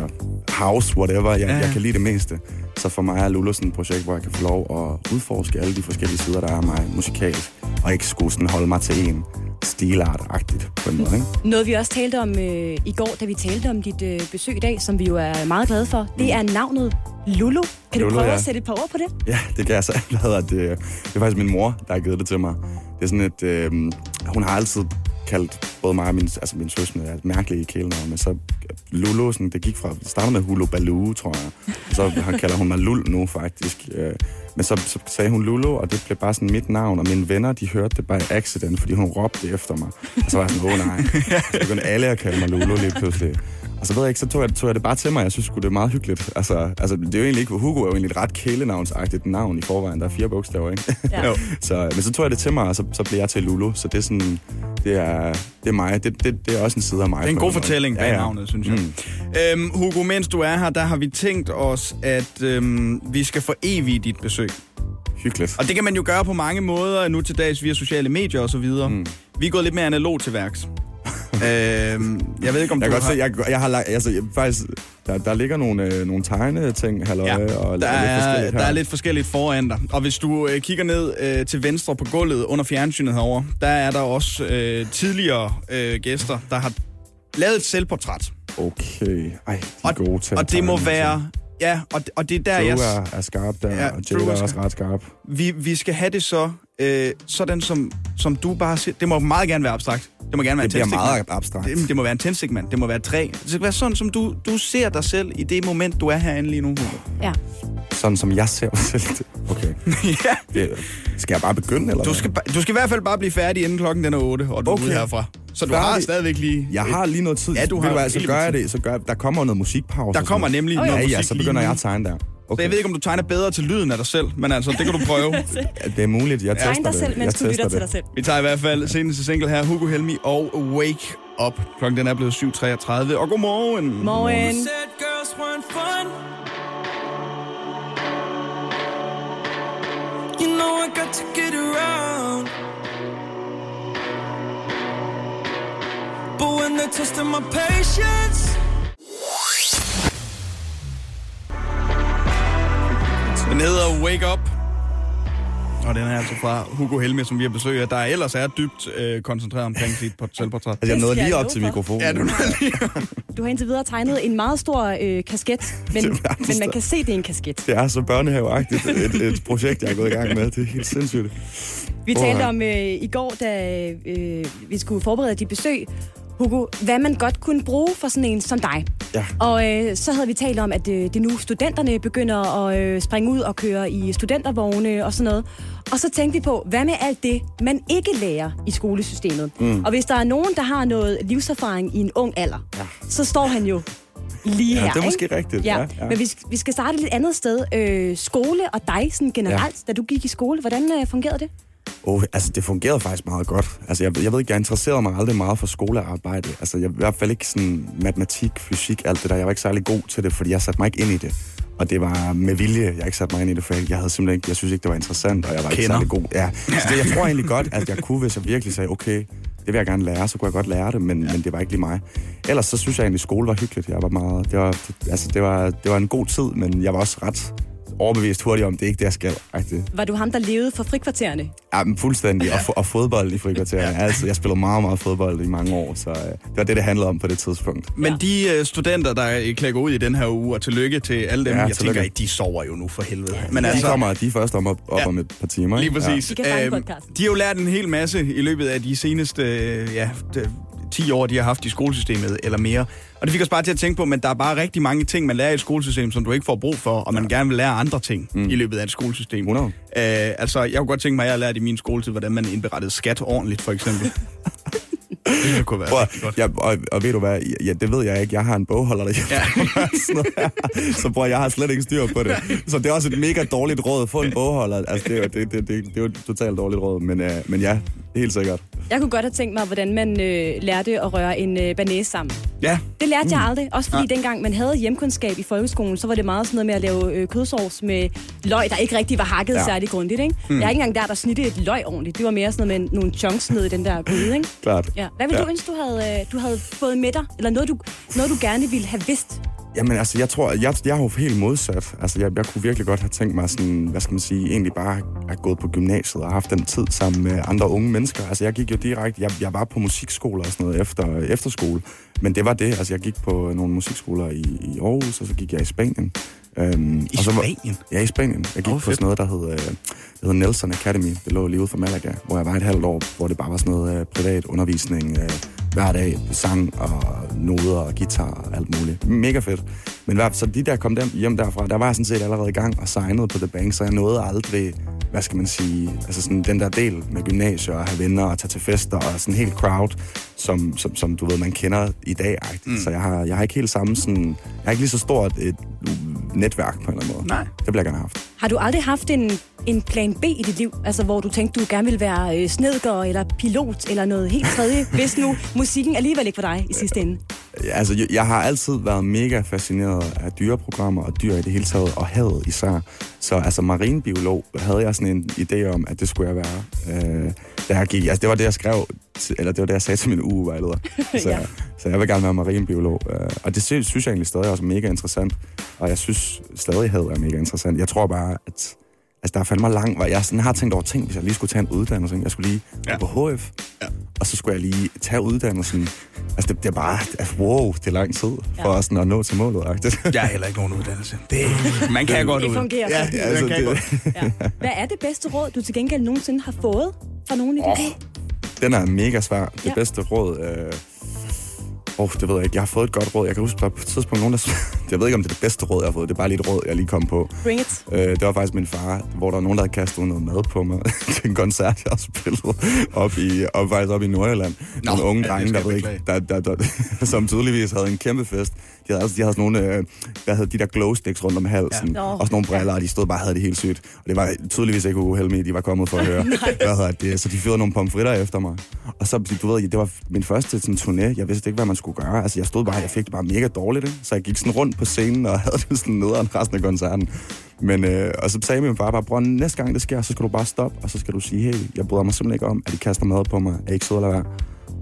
M: house, whatever, jeg,
B: Ja.
M: jeg kan lide det meste. Så for mig er Lulu sådan et projekt, hvor jeg kan få lov at udforske alle de forskellige sider, der er af mig musikalsk, og ikke skulle sådan holde mig til en stilart-agtigt på en måde, ikke?
D: Noget vi også talte om øh, i går, da vi talte om dit øh, besøg i dag, som vi jo er meget glade for, det er navnet Lulu.
M: Mm.
D: Kan du
M: Lulu,
D: prøve
M: ja.
D: at sætte et par ord på det?
M: Ja, det kan jeg så. Hvad hedder det? Det er faktisk min mor, der har givet det til mig. Det er sådan et... Øh, hun har altid kaldt både mig og min, altså min søskende er mærkelige i kælenavn, men så Lulu, sådan, det gik fra, det startede med Hulu Baloo, tror jeg. Og så har- kalder hun mig Lul nu, faktisk. Øh, Men så, så sagde hun Lulu, og det blev bare sådan mit navn, og mine venner, de hørte det bare i accident, fordi hun råbte efter mig. Og så var jeg sådan, åh nej. Så begyndte alle at kalde mig Lulu lige pludselig. Og så ved jeg ikke, så tog jeg, tog jeg det bare til mig. Jeg synes sgu, det er meget hyggeligt. Altså, altså det er jo egentlig ikke, Hugo er jo egentlig et ret kælenavnsagtigt navn i forvejen. Der er fire bogstaver, ikke?
D: Ja. Jo.
M: så, men så tog jeg det til mig, og så, så blev jeg til Lulu. Så det er sådan, det er, det er mig. Det, det, det er også en side af mig.
B: Det er en
M: på
B: god
M: måde. Mm.
B: fortælling bag navnet, synes jeg. Øhm, Hugo, mens du er her, der har vi tænkt os, at øhm, vi skal forevige dit besøg.
M: Hyggeligt.
B: Og det kan man jo gøre på mange måder nu til dags via sociale medier og så videre. Mm. Vi er gået lidt mere analog til værks. øhm, jeg ved ikke, om
M: jeg
B: du
M: kan godt
B: har...
M: Se, jeg, jeg har lagt, altså, jeg, faktisk, der, der ligger nogle, øh, nogle tegneting, halløj, ja, og
B: Der
M: lidt
B: er,
M: forskelligt her.
B: der er lidt forskelligt foran dig. Og hvis du øh, kigger ned øh, til venstre på gulvet under fjernsynet herover, der er der også øh, tidligere øh, gæster, der har lavet et selvportræt.
M: Okay, ej, de er gode til at
B: Og det må
M: tegne,
B: være... Ja, og, og det er der,
M: Drew
B: jeg...
M: er, er skarp der,
B: Ja,
M: ja, og
B: Drew
M: Jada
B: er
M: er også
B: skarp.
M: ret skarp.
B: Vi, vi skal have det så, øh, sådan som, som du bare ser. Det må meget gerne være abstrakt. Det må gerne være
M: Det bliver
B: en tændstikmand.
M: meget abstrakt.
B: Det, det må være en tændstikmand. Det må være et træ. Det skal være sådan, som du, du ser dig selv i det moment, du er herinde lige nu.
D: Ja.
M: Sådan som jeg ser mig selv. Okay.
B: ja.
M: Det, skal jeg bare begynde, eller
B: Du skal, ba- du skal i hvert fald bare blive færdig, inden klokken den er 8, og du okay. er ude herfra. Så du Færdig. har
M: Færdig.
B: stadigvæk lige...
M: Jeg har lige noget tid.
B: Ja, du
M: Ved
B: har
M: hvad, så
B: helt
M: gør
B: vildt
M: jeg
B: tid.
M: det. Så gør, jeg- der kommer noget musikpause. og
B: Der
M: sådan
B: kommer
M: noget.
B: nemlig noget
M: ja, ja,
B: musik
M: så
B: lige
M: begynder
B: nu.
M: jeg at tegne der.
B: Okay. Så jeg ved ikke, om du tegner bedre til lyden af dig selv, men altså, det kan du prøve.
M: Ja, Det er muligt. Jeg tester det. Jeg tester det.
B: Vi tager i hvert fald seneste single her, Hugo Helmi og Wake Up. Klokken den er blevet 7.33, og godmorgen.
F: Said girls weren't fun. You know I got to get around. But when they're testing my patience.
B: Den hedder Wake Up. Og den er altså fra Hugo Helmi, som vi har besøg af, der ellers er dybt øh, koncentreret omkring sit port- selvportræt.
M: Altså, jeg nåede lige op til mikrofonen.
B: Ja, du
D: Du har indtil videre tegnet en meget stor øh, kasket, men, men man kan se, det er en kasket.
M: Det er så børnehaveagtigt et, et projekt, jeg er gået i gang med. Det er helt sindssygt.
D: Vi
M: Åh,
D: talte
M: ja.
D: om øh, i går, da øh, vi skulle forberede dit besøg, Hugo, hvad man godt kunne bruge for sådan en som dig.
M: Ja.
D: Og øh, så havde vi talt om, at øh, det er nu studenterne begynder at øh, springe ud og køre i studentervogne og sådan noget. Og så tænkte vi på, hvad med alt det, man ikke lærer i skolesystemet?
F: Mm.
D: Og hvis der er nogen, der har noget livserfaring i en ung alder, ja. så står han jo lige
M: Ja,
D: her.
M: det er måske
D: ikke?
M: rigtigt.
D: Ja.
M: Ja, ja.
D: Men vi, sk- vi skal starte et lidt andet sted. Øh, skole og dig sådan generelt, ja. da du gik i skole, hvordan øh, fungerede det?
M: Oh, altså, det fungerede faktisk meget godt. Altså, jeg, jeg ved ikke, jeg interesserede mig aldrig meget for skolearbejde. Altså, jeg i hvert fald ikke sådan matematik, fysik, alt det der. Jeg var ikke særlig god til det, fordi jeg satte mig ikke ind i det. Og det var med vilje, jeg ikke satte mig ind i det, for jeg, jeg havde simpelthen ikke, jeg synes ikke, det var interessant, og jeg var ikke
B: Kender.
M: særlig god. Ja. Så det, jeg tror egentlig godt, at jeg kunne, hvis jeg virkelig sagde, okay, det vil jeg gerne lære, så kunne jeg godt lære det, men, ja. men det var ikke lige mig. Ellers så synes jeg egentlig, at skole var hyggeligt. Jeg var meget, det var, det, altså, det var, det var en god tid, men jeg var også ret overbevist hurtigt om, det er ikke det, jeg skal. Rigtigt.
D: Var du ham, der levede for frikvartererne?
M: Ja, men fuldstændig. Og, fo- og fodbold i frikvartererne. Altså, jeg spillede meget, meget fodbold i mange år, så øh, det var det, det handlede om på det tidspunkt.
B: Men ja. de øh, studenter, der øh, klækker ud i den her uge, og tillykke til alle dem,
M: Ja,
B: ja, jeg
M: tillykke.
B: tænker ikke, de sover jo nu for helvede. Ja,
M: Men altså, de kommer de er først om, op, op ja, om et par timer.
B: Lige
M: ikke?
B: præcis. Øhm, de har jo lært en hel masse i løbet af de seneste øh, ja, d- 10 år, de har haft i skolesystemet eller mere. Og det fik os bare til at tænke på, men der er bare rigtig mange ting, man lærer i et skolesystem, som du ikke får brug for, og man gerne vil lære andre ting mm. i løbet af et skolesystem.
M: 100.
B: Øh, altså, jeg kunne godt tænke mig, at jeg har lært i min skoletid, hvordan man indberettede skat ordentligt, for eksempel. det kunne være
M: Prøv,
B: rigtig godt.
M: ja, og, og ved du hvad, ja, det ved jeg ikke. Jeg har en bogholder derhjemme. Ja. så bror, jeg har slet ikke styr på det. Så det er også et mega dårligt råd. Få en bogholder. Altså, det er jo, det, det, det, det er jo et totalt dårligt råd, men, øh, men ja, helt sikkert.
D: Jeg kunne godt have tænkt mig, hvordan man øh, lærte at røre en øh, banæs sammen.
B: Ja.
D: Det lærte mm. jeg aldrig. Også fordi
B: Nej.
D: dengang man havde hjemkundskab i folkeskolen, så var det meget sådan noget med at lave øh, kødsovs med løg, der ikke rigtig var hakket
M: Ja.
D: ja. særlig grundigt. Ikke?
M: Mm.
D: Mm. Jeg har ikke engang lært at snitte et løg ordentligt. Det var mere sådan noget med nogle chunks ned i den der gryde. Ikke?
M: Klart.
D: Ja. Hvad ville ja. du ønske, du havde, øh, du havde fået med dig? Eller noget du, noget, du gerne ville have vidst?
M: Jamen altså, jeg tror, jeg, jeg er jo helt modsat. Altså, jeg, jeg kunne virkelig godt have tænkt mig sådan, hvad skal man sige, egentlig bare at gået på gymnasiet og haft den tid sammen med andre unge mennesker. Altså, jeg gik jo direkte, jeg, jeg var på musikskoler og sådan noget efter efterskole, men det var det. Altså, jeg gik på nogle musikskoler i, i Aarhus, og så gik jeg i Spanien. Øhm, I og så var,
B: Spanien?
M: Ja, i Spanien. Jeg gik oh, på sådan noget, der hed, øh, der hed Nelson Academy. Det lå lige ude for Malaga, hvor jeg var et halvt år, hvor det bare var sådan noget øh, privat undervisning øh, hver dag. Sang og noder og guitar og alt muligt. Mega fedt. Men hver, så de der kom dem, hjem derfra, der var jeg sådan set allerede i gang og signede på The Bank, så jeg nåede aldrig, hvad skal man sige, altså sådan den der del med gymnasier og have venner og tage til fester og sådan helt crowd, som, som, som du ved, man kender i dag. Mm. Så jeg har, jeg har ikke helt samme sådan, jeg har ikke lige så stort et netværk på en eller anden måde.
B: Nej.
M: Det ville jeg gerne have haft.
D: Har du aldrig haft en, en plan B i dit liv? Altså, hvor du tænkte, du gerne ville være øh, snedker eller pilot eller noget helt tredje, hvis nu musikken alligevel ikke var dig i sidste ende?
M: Altså, jeg- jeg har altid været mega fascineret af dyreprogrammer og dyr i det hele taget, og havet især. Så altså, marinbiolog havde jeg sådan en idé om, at det skulle jeg være. Øh, da jeg gik, altså, det var det, jeg skrev, til, eller det var det, jeg sagde til min ugevejleder. Så, ja.
F: Ja.
M: så jeg vil gerne være marinbiolog. Øh, og det sy- synes jeg egentlig stadig også er mega interessant. Og jeg synes stadig, havet er mega interessant. Jeg tror bare, at altså, der er fandme lang vej. Jeg sådan har tænkt over ting, hvis jeg lige skulle tage en uddannelse. ikke? Jeg skulle lige ja. på HF, ja. og så skulle jeg lige tage uddannelsen. Altså, det, det er bare, altså, wow, det er lang tid for ja. sådan at nå til målet. Agtigt.
B: Jeg har heller ikke nogen uddannelse. Det, man kan godt
D: Det
B: ud.
D: fungerer.
B: Ja,
D: Det
B: altså,
M: fungerer
B: det,
M: godt.
D: Hvad er det bedste råd, du til gengæld nogensinde har fået fra nogen i dit liv?
M: Den er mega svær. Det
D: Ja.
M: bedste råd... Øh... Oh, det ved jeg ikke. Jeg har fået et godt råd. Jeg kan huske, der var på et tidspunkt nogen, der... jeg ved ikke, om det er det bedste råd, jeg har fået. Det er bare lige et råd, jeg lige kom på.
D: Bring it.
M: Øh, det var faktisk min far, hvor der var nogen, der havde kastet noget mad på mig til en koncert, jeg spillede op i, op, faktisk op i Nordjylland. Nå, nogle unge
B: ja, det
M: drenge,
B: skal
M: der,
B: jeg
M: ved ikke, der, der, der, som tydeligvis havde en kæmpe fest. De havde, altså, de havde sådan nogle, øh, hvad hedder de der glow sticks rundt om halsen,
B: Nå.
M: ja. og sådan nogle briller, og de stod bare og havde det helt sygt. Og det var tydeligvis ikke uheld med, de var kommet for at høre. hvad hedder det? Så de fyrede nogle pomfritter efter mig. Og så, du ved, det var min første sådan, turné. Jeg vidste ikke, hvad man skulle gøre. Altså, jeg stod bare, jeg fik det bare mega dårligt. Ikke? Så jeg gik sådan rundt på scenen og havde det sådan nederen resten af koncerten. Men, øh, og så sagde min far bare, bror, næste gang det sker, så skal du bare stoppe, og så skal du sige, hey, jeg bryder mig simpelthen ikke om, at de kaster mad på mig. Er I ikke søde eller hvad?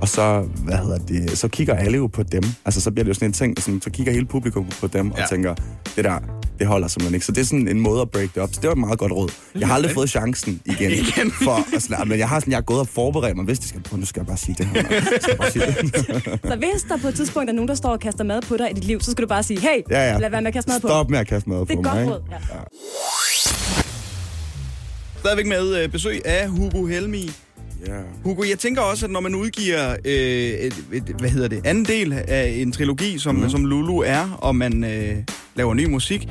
M: Og så, hvad hedder det, så kigger alle jo på dem. Altså, så bliver det jo sådan en ting, sådan, så kigger hele publikum på dem ja. og tænker, det der, det holder simpelthen ikke. Så det er sådan en måde at break det op. Så det var et meget godt råd. Jeg har aldrig fået chancen igen. igen. For, at sådan, men jeg har sådan, jeg er gået og forberedt mig. Hvis det skal, prøv, nu skal jeg bare sige det her. mand. Jeg skal bare sige det.
D: Så hvis der på et tidspunkt er nogen, der står og kaster mad på dig i dit liv, så skal du bare sige, hey,
M: Ja, ja.
D: lad være med at kaste mad på.
M: Stop med at kaste mad
D: Det er
M: på
D: et godt
M: mig.
D: råd, ja.
B: Stadigvæk med øh, besøg af Hugo Helmi.
M: Ja.
B: Hugo, jeg tænker også, at når man udgiver, øh, et, et, hvad hedder det, anden del af en trilogi, som, mm. som Lulu er, og man øh, laver ny musik,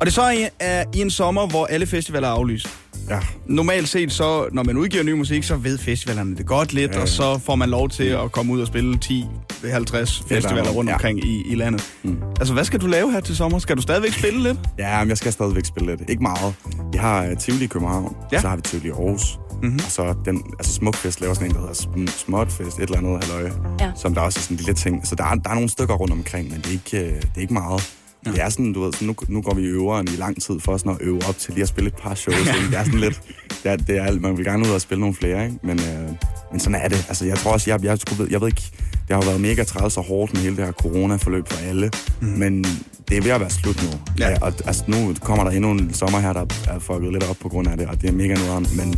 B: og det så er i, er i en sommer, hvor alle festivaler er aflyst.
M: Ja.
B: Normalt set, så når man udgiver ny musik, så ved festivalerne det godt lidt,
M: Ja,
B: ja, ja.
M: ja.
B: og så får man lov til at komme ud og spille 10-50 festivaler rundt ja. omkring i, i landet. Mm. Altså, hvad skal du lave her til sommer? Skal du stadigvæk spille lidt?
M: Ja, men jeg skal stadigvæk spille lidt. Ikke meget. Vi har uh, Tivoli i København, ja. så har vi Tivoli i Aarhus.
B: Mhm.
M: Mm-hmm. Og så den, altså Smukfest laver sådan en, der hedder Sm- Småtfest, et eller andet halvøje,
D: Ja.
M: som der også er sådan en lille ting. Så der er, der er nogle stykker rundt omkring, men det er ikke, øh, det er ikke meget. Ja. Det er sådan, du ved, sådan, nu, nu går vi i øveren i lang tid for sådan at øve op til lige at spille et par shows. Ja. Det er sådan lidt, det er, det er, alt- man vil gerne ud og spille nogle flere, ikke? Men, øh, men sådan er det. Altså, jeg tror også, jeg, jeg, jeg, jeg ved ikke, det har jo været mega træls og hårdt med hele det her corona-forløb for alle, mm. men det er ved at være slut nu. Ja. Ja, og altså, nu kommer der endnu en sommer her, der er fucket lidt op på grund af det, og det er mega nederen, men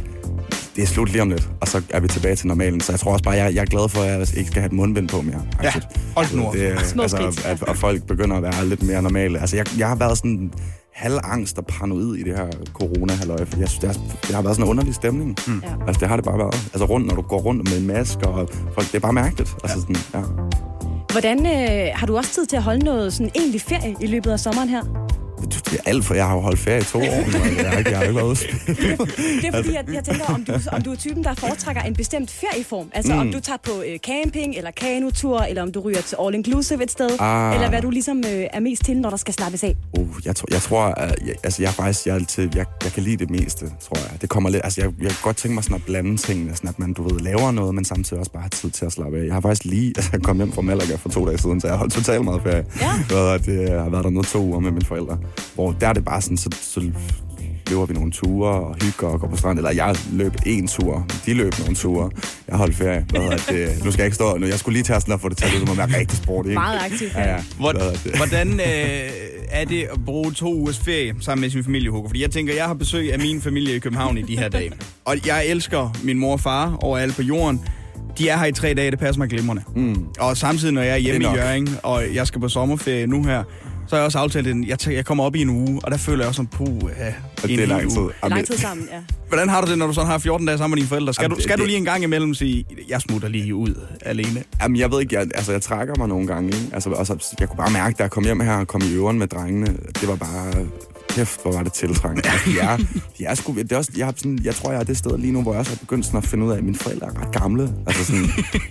M: det er slut lige om lidt, og så er vi tilbage til normalen. Så jeg tror også bare, jeg, jeg er glad for, at jeg altså ikke skal have et mundbind på mere. Ja,
B: hold nu op.
M: det, er-
B: Små
M: altså,
B: skridt.
M: at, og folk begynder at være lidt mere normale. Altså, jeg, jeg har været sådan halvangst og paranoid i det her corona halløj for jeg synes, det, har, det har været sådan en underlig stemning. Mm. Ja. Altså, det har det bare været. Altså, rundt, når du går rundt med en maske, og folk, det er bare mærkeligt. Altså, sådan, ja.
D: Hvordan øh, har du også tid til at holde noget sådan egentlig ferie i løbet af sommeren her?
M: Det er alt for, jeg har jo holdt ferie i to år, men jeg har ikke, jeg har ikke været ude.
D: Det er
M: Altså.
D: fordi, jeg, jeg tænker, om du, om du er typen, der foretrækker en bestemt ferieform. Altså mm. om
M: Mm.
D: du tager på øh, camping eller kanotur, eller om du ryger til all inclusive et sted.
M: Ah.
D: Eller hvad du ligesom øh, er mest til, når der skal slappes af.
M: Uh, jeg, tror, jeg tror, at jeg, altså jeg er faktisk, jeg, er altid, jeg, jeg kan lide det meste, tror jeg. Det kommer lidt, altså jeg, jeg kan godt tænke mig sådan at blande tingene, sådan at man, du ved, laver noget, men samtidig også bare har tid til at slappe af. Jeg har faktisk lige, altså jeg kom hjem fra Malaga for to dage siden, så jeg har holdt totalt meget ferie. Ja. Og det, jeg har været dernede to uger med mine forældre, hvor der er det bare sådan, så, så løber vi nogle ture og hygger og går på stranden. Eller jeg løb en tur, de løb nogle ture. Jeg holdt ferie. Hvad hedder det? Nu skal jeg ikke stå, nu, jeg skulle lige tage sådan at få det til at lyde, som om jeg er rigtig sporty. Ikke?
B: Meget aktiv
M: Ja, ja.
B: Hvor-
M: Hvad hedder det?
B: Hvordan øh, er det at bruge to ugers ferie sammen med sin familie, Hugo? Fordi jeg tænker, jeg har besøg af min familie i København i de her dage. Og jeg elsker min mor og far overalt på jorden. De er her i tre dage, det passer mig glimrende. Mm. Og samtidig, når jeg er hjemme
M: Det
B: i
M: er nok.
B: Jørgen, og jeg skal på sommerferie nu her, så har jeg også aftalt, at jeg, tager- jeg kommer op i en uge, og der føler jeg også som puh, øh, ja,
M: Og det er lang tid. Jamen,
D: Lang tid sammen, ja.
B: Hvordan har du det, når du sådan har 14 dage sammen med dine forældre? Skal,
M: Jamen,
B: du,
M: det-
B: skal du
M: det-
B: lige en gang imellem sige, jeg smutter lige ud alene?
M: Jamen, jeg ved ikke, jeg, altså, jeg trækker mig nogle gange, ikke? Altså, og så, jeg kunne bare mærke, da jeg kom hjem her og kom i øveren med drengene, det var bare, kæft, hvor var det tiltrængt. Altså, de er, de er sgu, det er også, jeg, har sådan, jeg tror, jeg er det sted lige nu, hvor jeg også har begyndt sådan at finde ud af, at mine forældre er ret gamle. Altså sådan,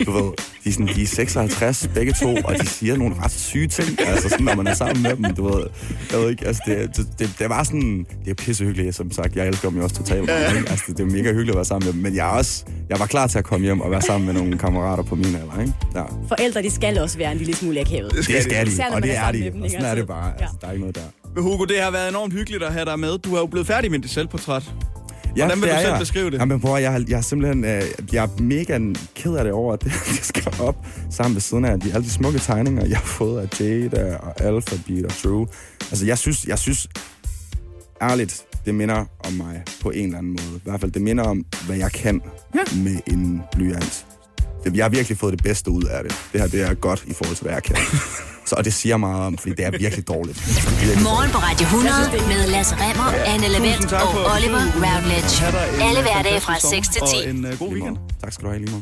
M: du ved, de er, sådan, de er 56 begge to, og de siger nogle ret syge ting, altså sådan, når man er sammen med dem, du ved. Jeg ved ikke, altså det, det, det, det var sådan, det er pissehyggeligt, som sagt. Jeg elsker dem jo også totalt. Ja. Altså, det er mega hyggeligt at være sammen med dem, men jeg, er også, jeg var klar til at komme hjem og være sammen med nogle kammerater på min alder, ikke? Ja.
D: Forældre, de skal også være en lille smule akavet.
M: Det skal, det skal de,
D: Især, når
M: og
D: man
M: det er
D: sammen med
M: de,
D: dem,
M: og
D: ikke?
M: sådan er
D: Altså,
M: det bare. Altså, der er ikke noget der.
B: Men Hugo, det har været enormt hyggeligt at have dig med. Du er jo blevet færdig med dit selvportræt.
M: Ja,
B: Hvordan
M: det
B: vil du
M: er
B: selv
M: jeg.
B: beskrive det?
M: Jamen, bror, jeg, har- jeg er simpelthen øh, jeg er mega ked af det over, at det, det skal op sammen ved siden af de, alle de smukke tegninger, jeg har fået af Jada og Alphabet og True. Altså, jeg synes, jeg synes ærligt, det minder om mig på en eller anden måde. I hvert fald, det minder om, hvad jeg kan ja. med en blyant. Det- Jeg har virkelig fået det bedste ud af det. Det her, det er godt i forhold til, hvad jeg kan. Så og det siger meget om, fordi det er virkelig dårligt. Virkelig
A: Morgen på Radio 100 med Lasse Remmer, Anne Lavendt og Oliver Routledge. Alle hverdage fra 6 til 10.
B: en øh, god weekend.
M: Tak skal du have lige meget.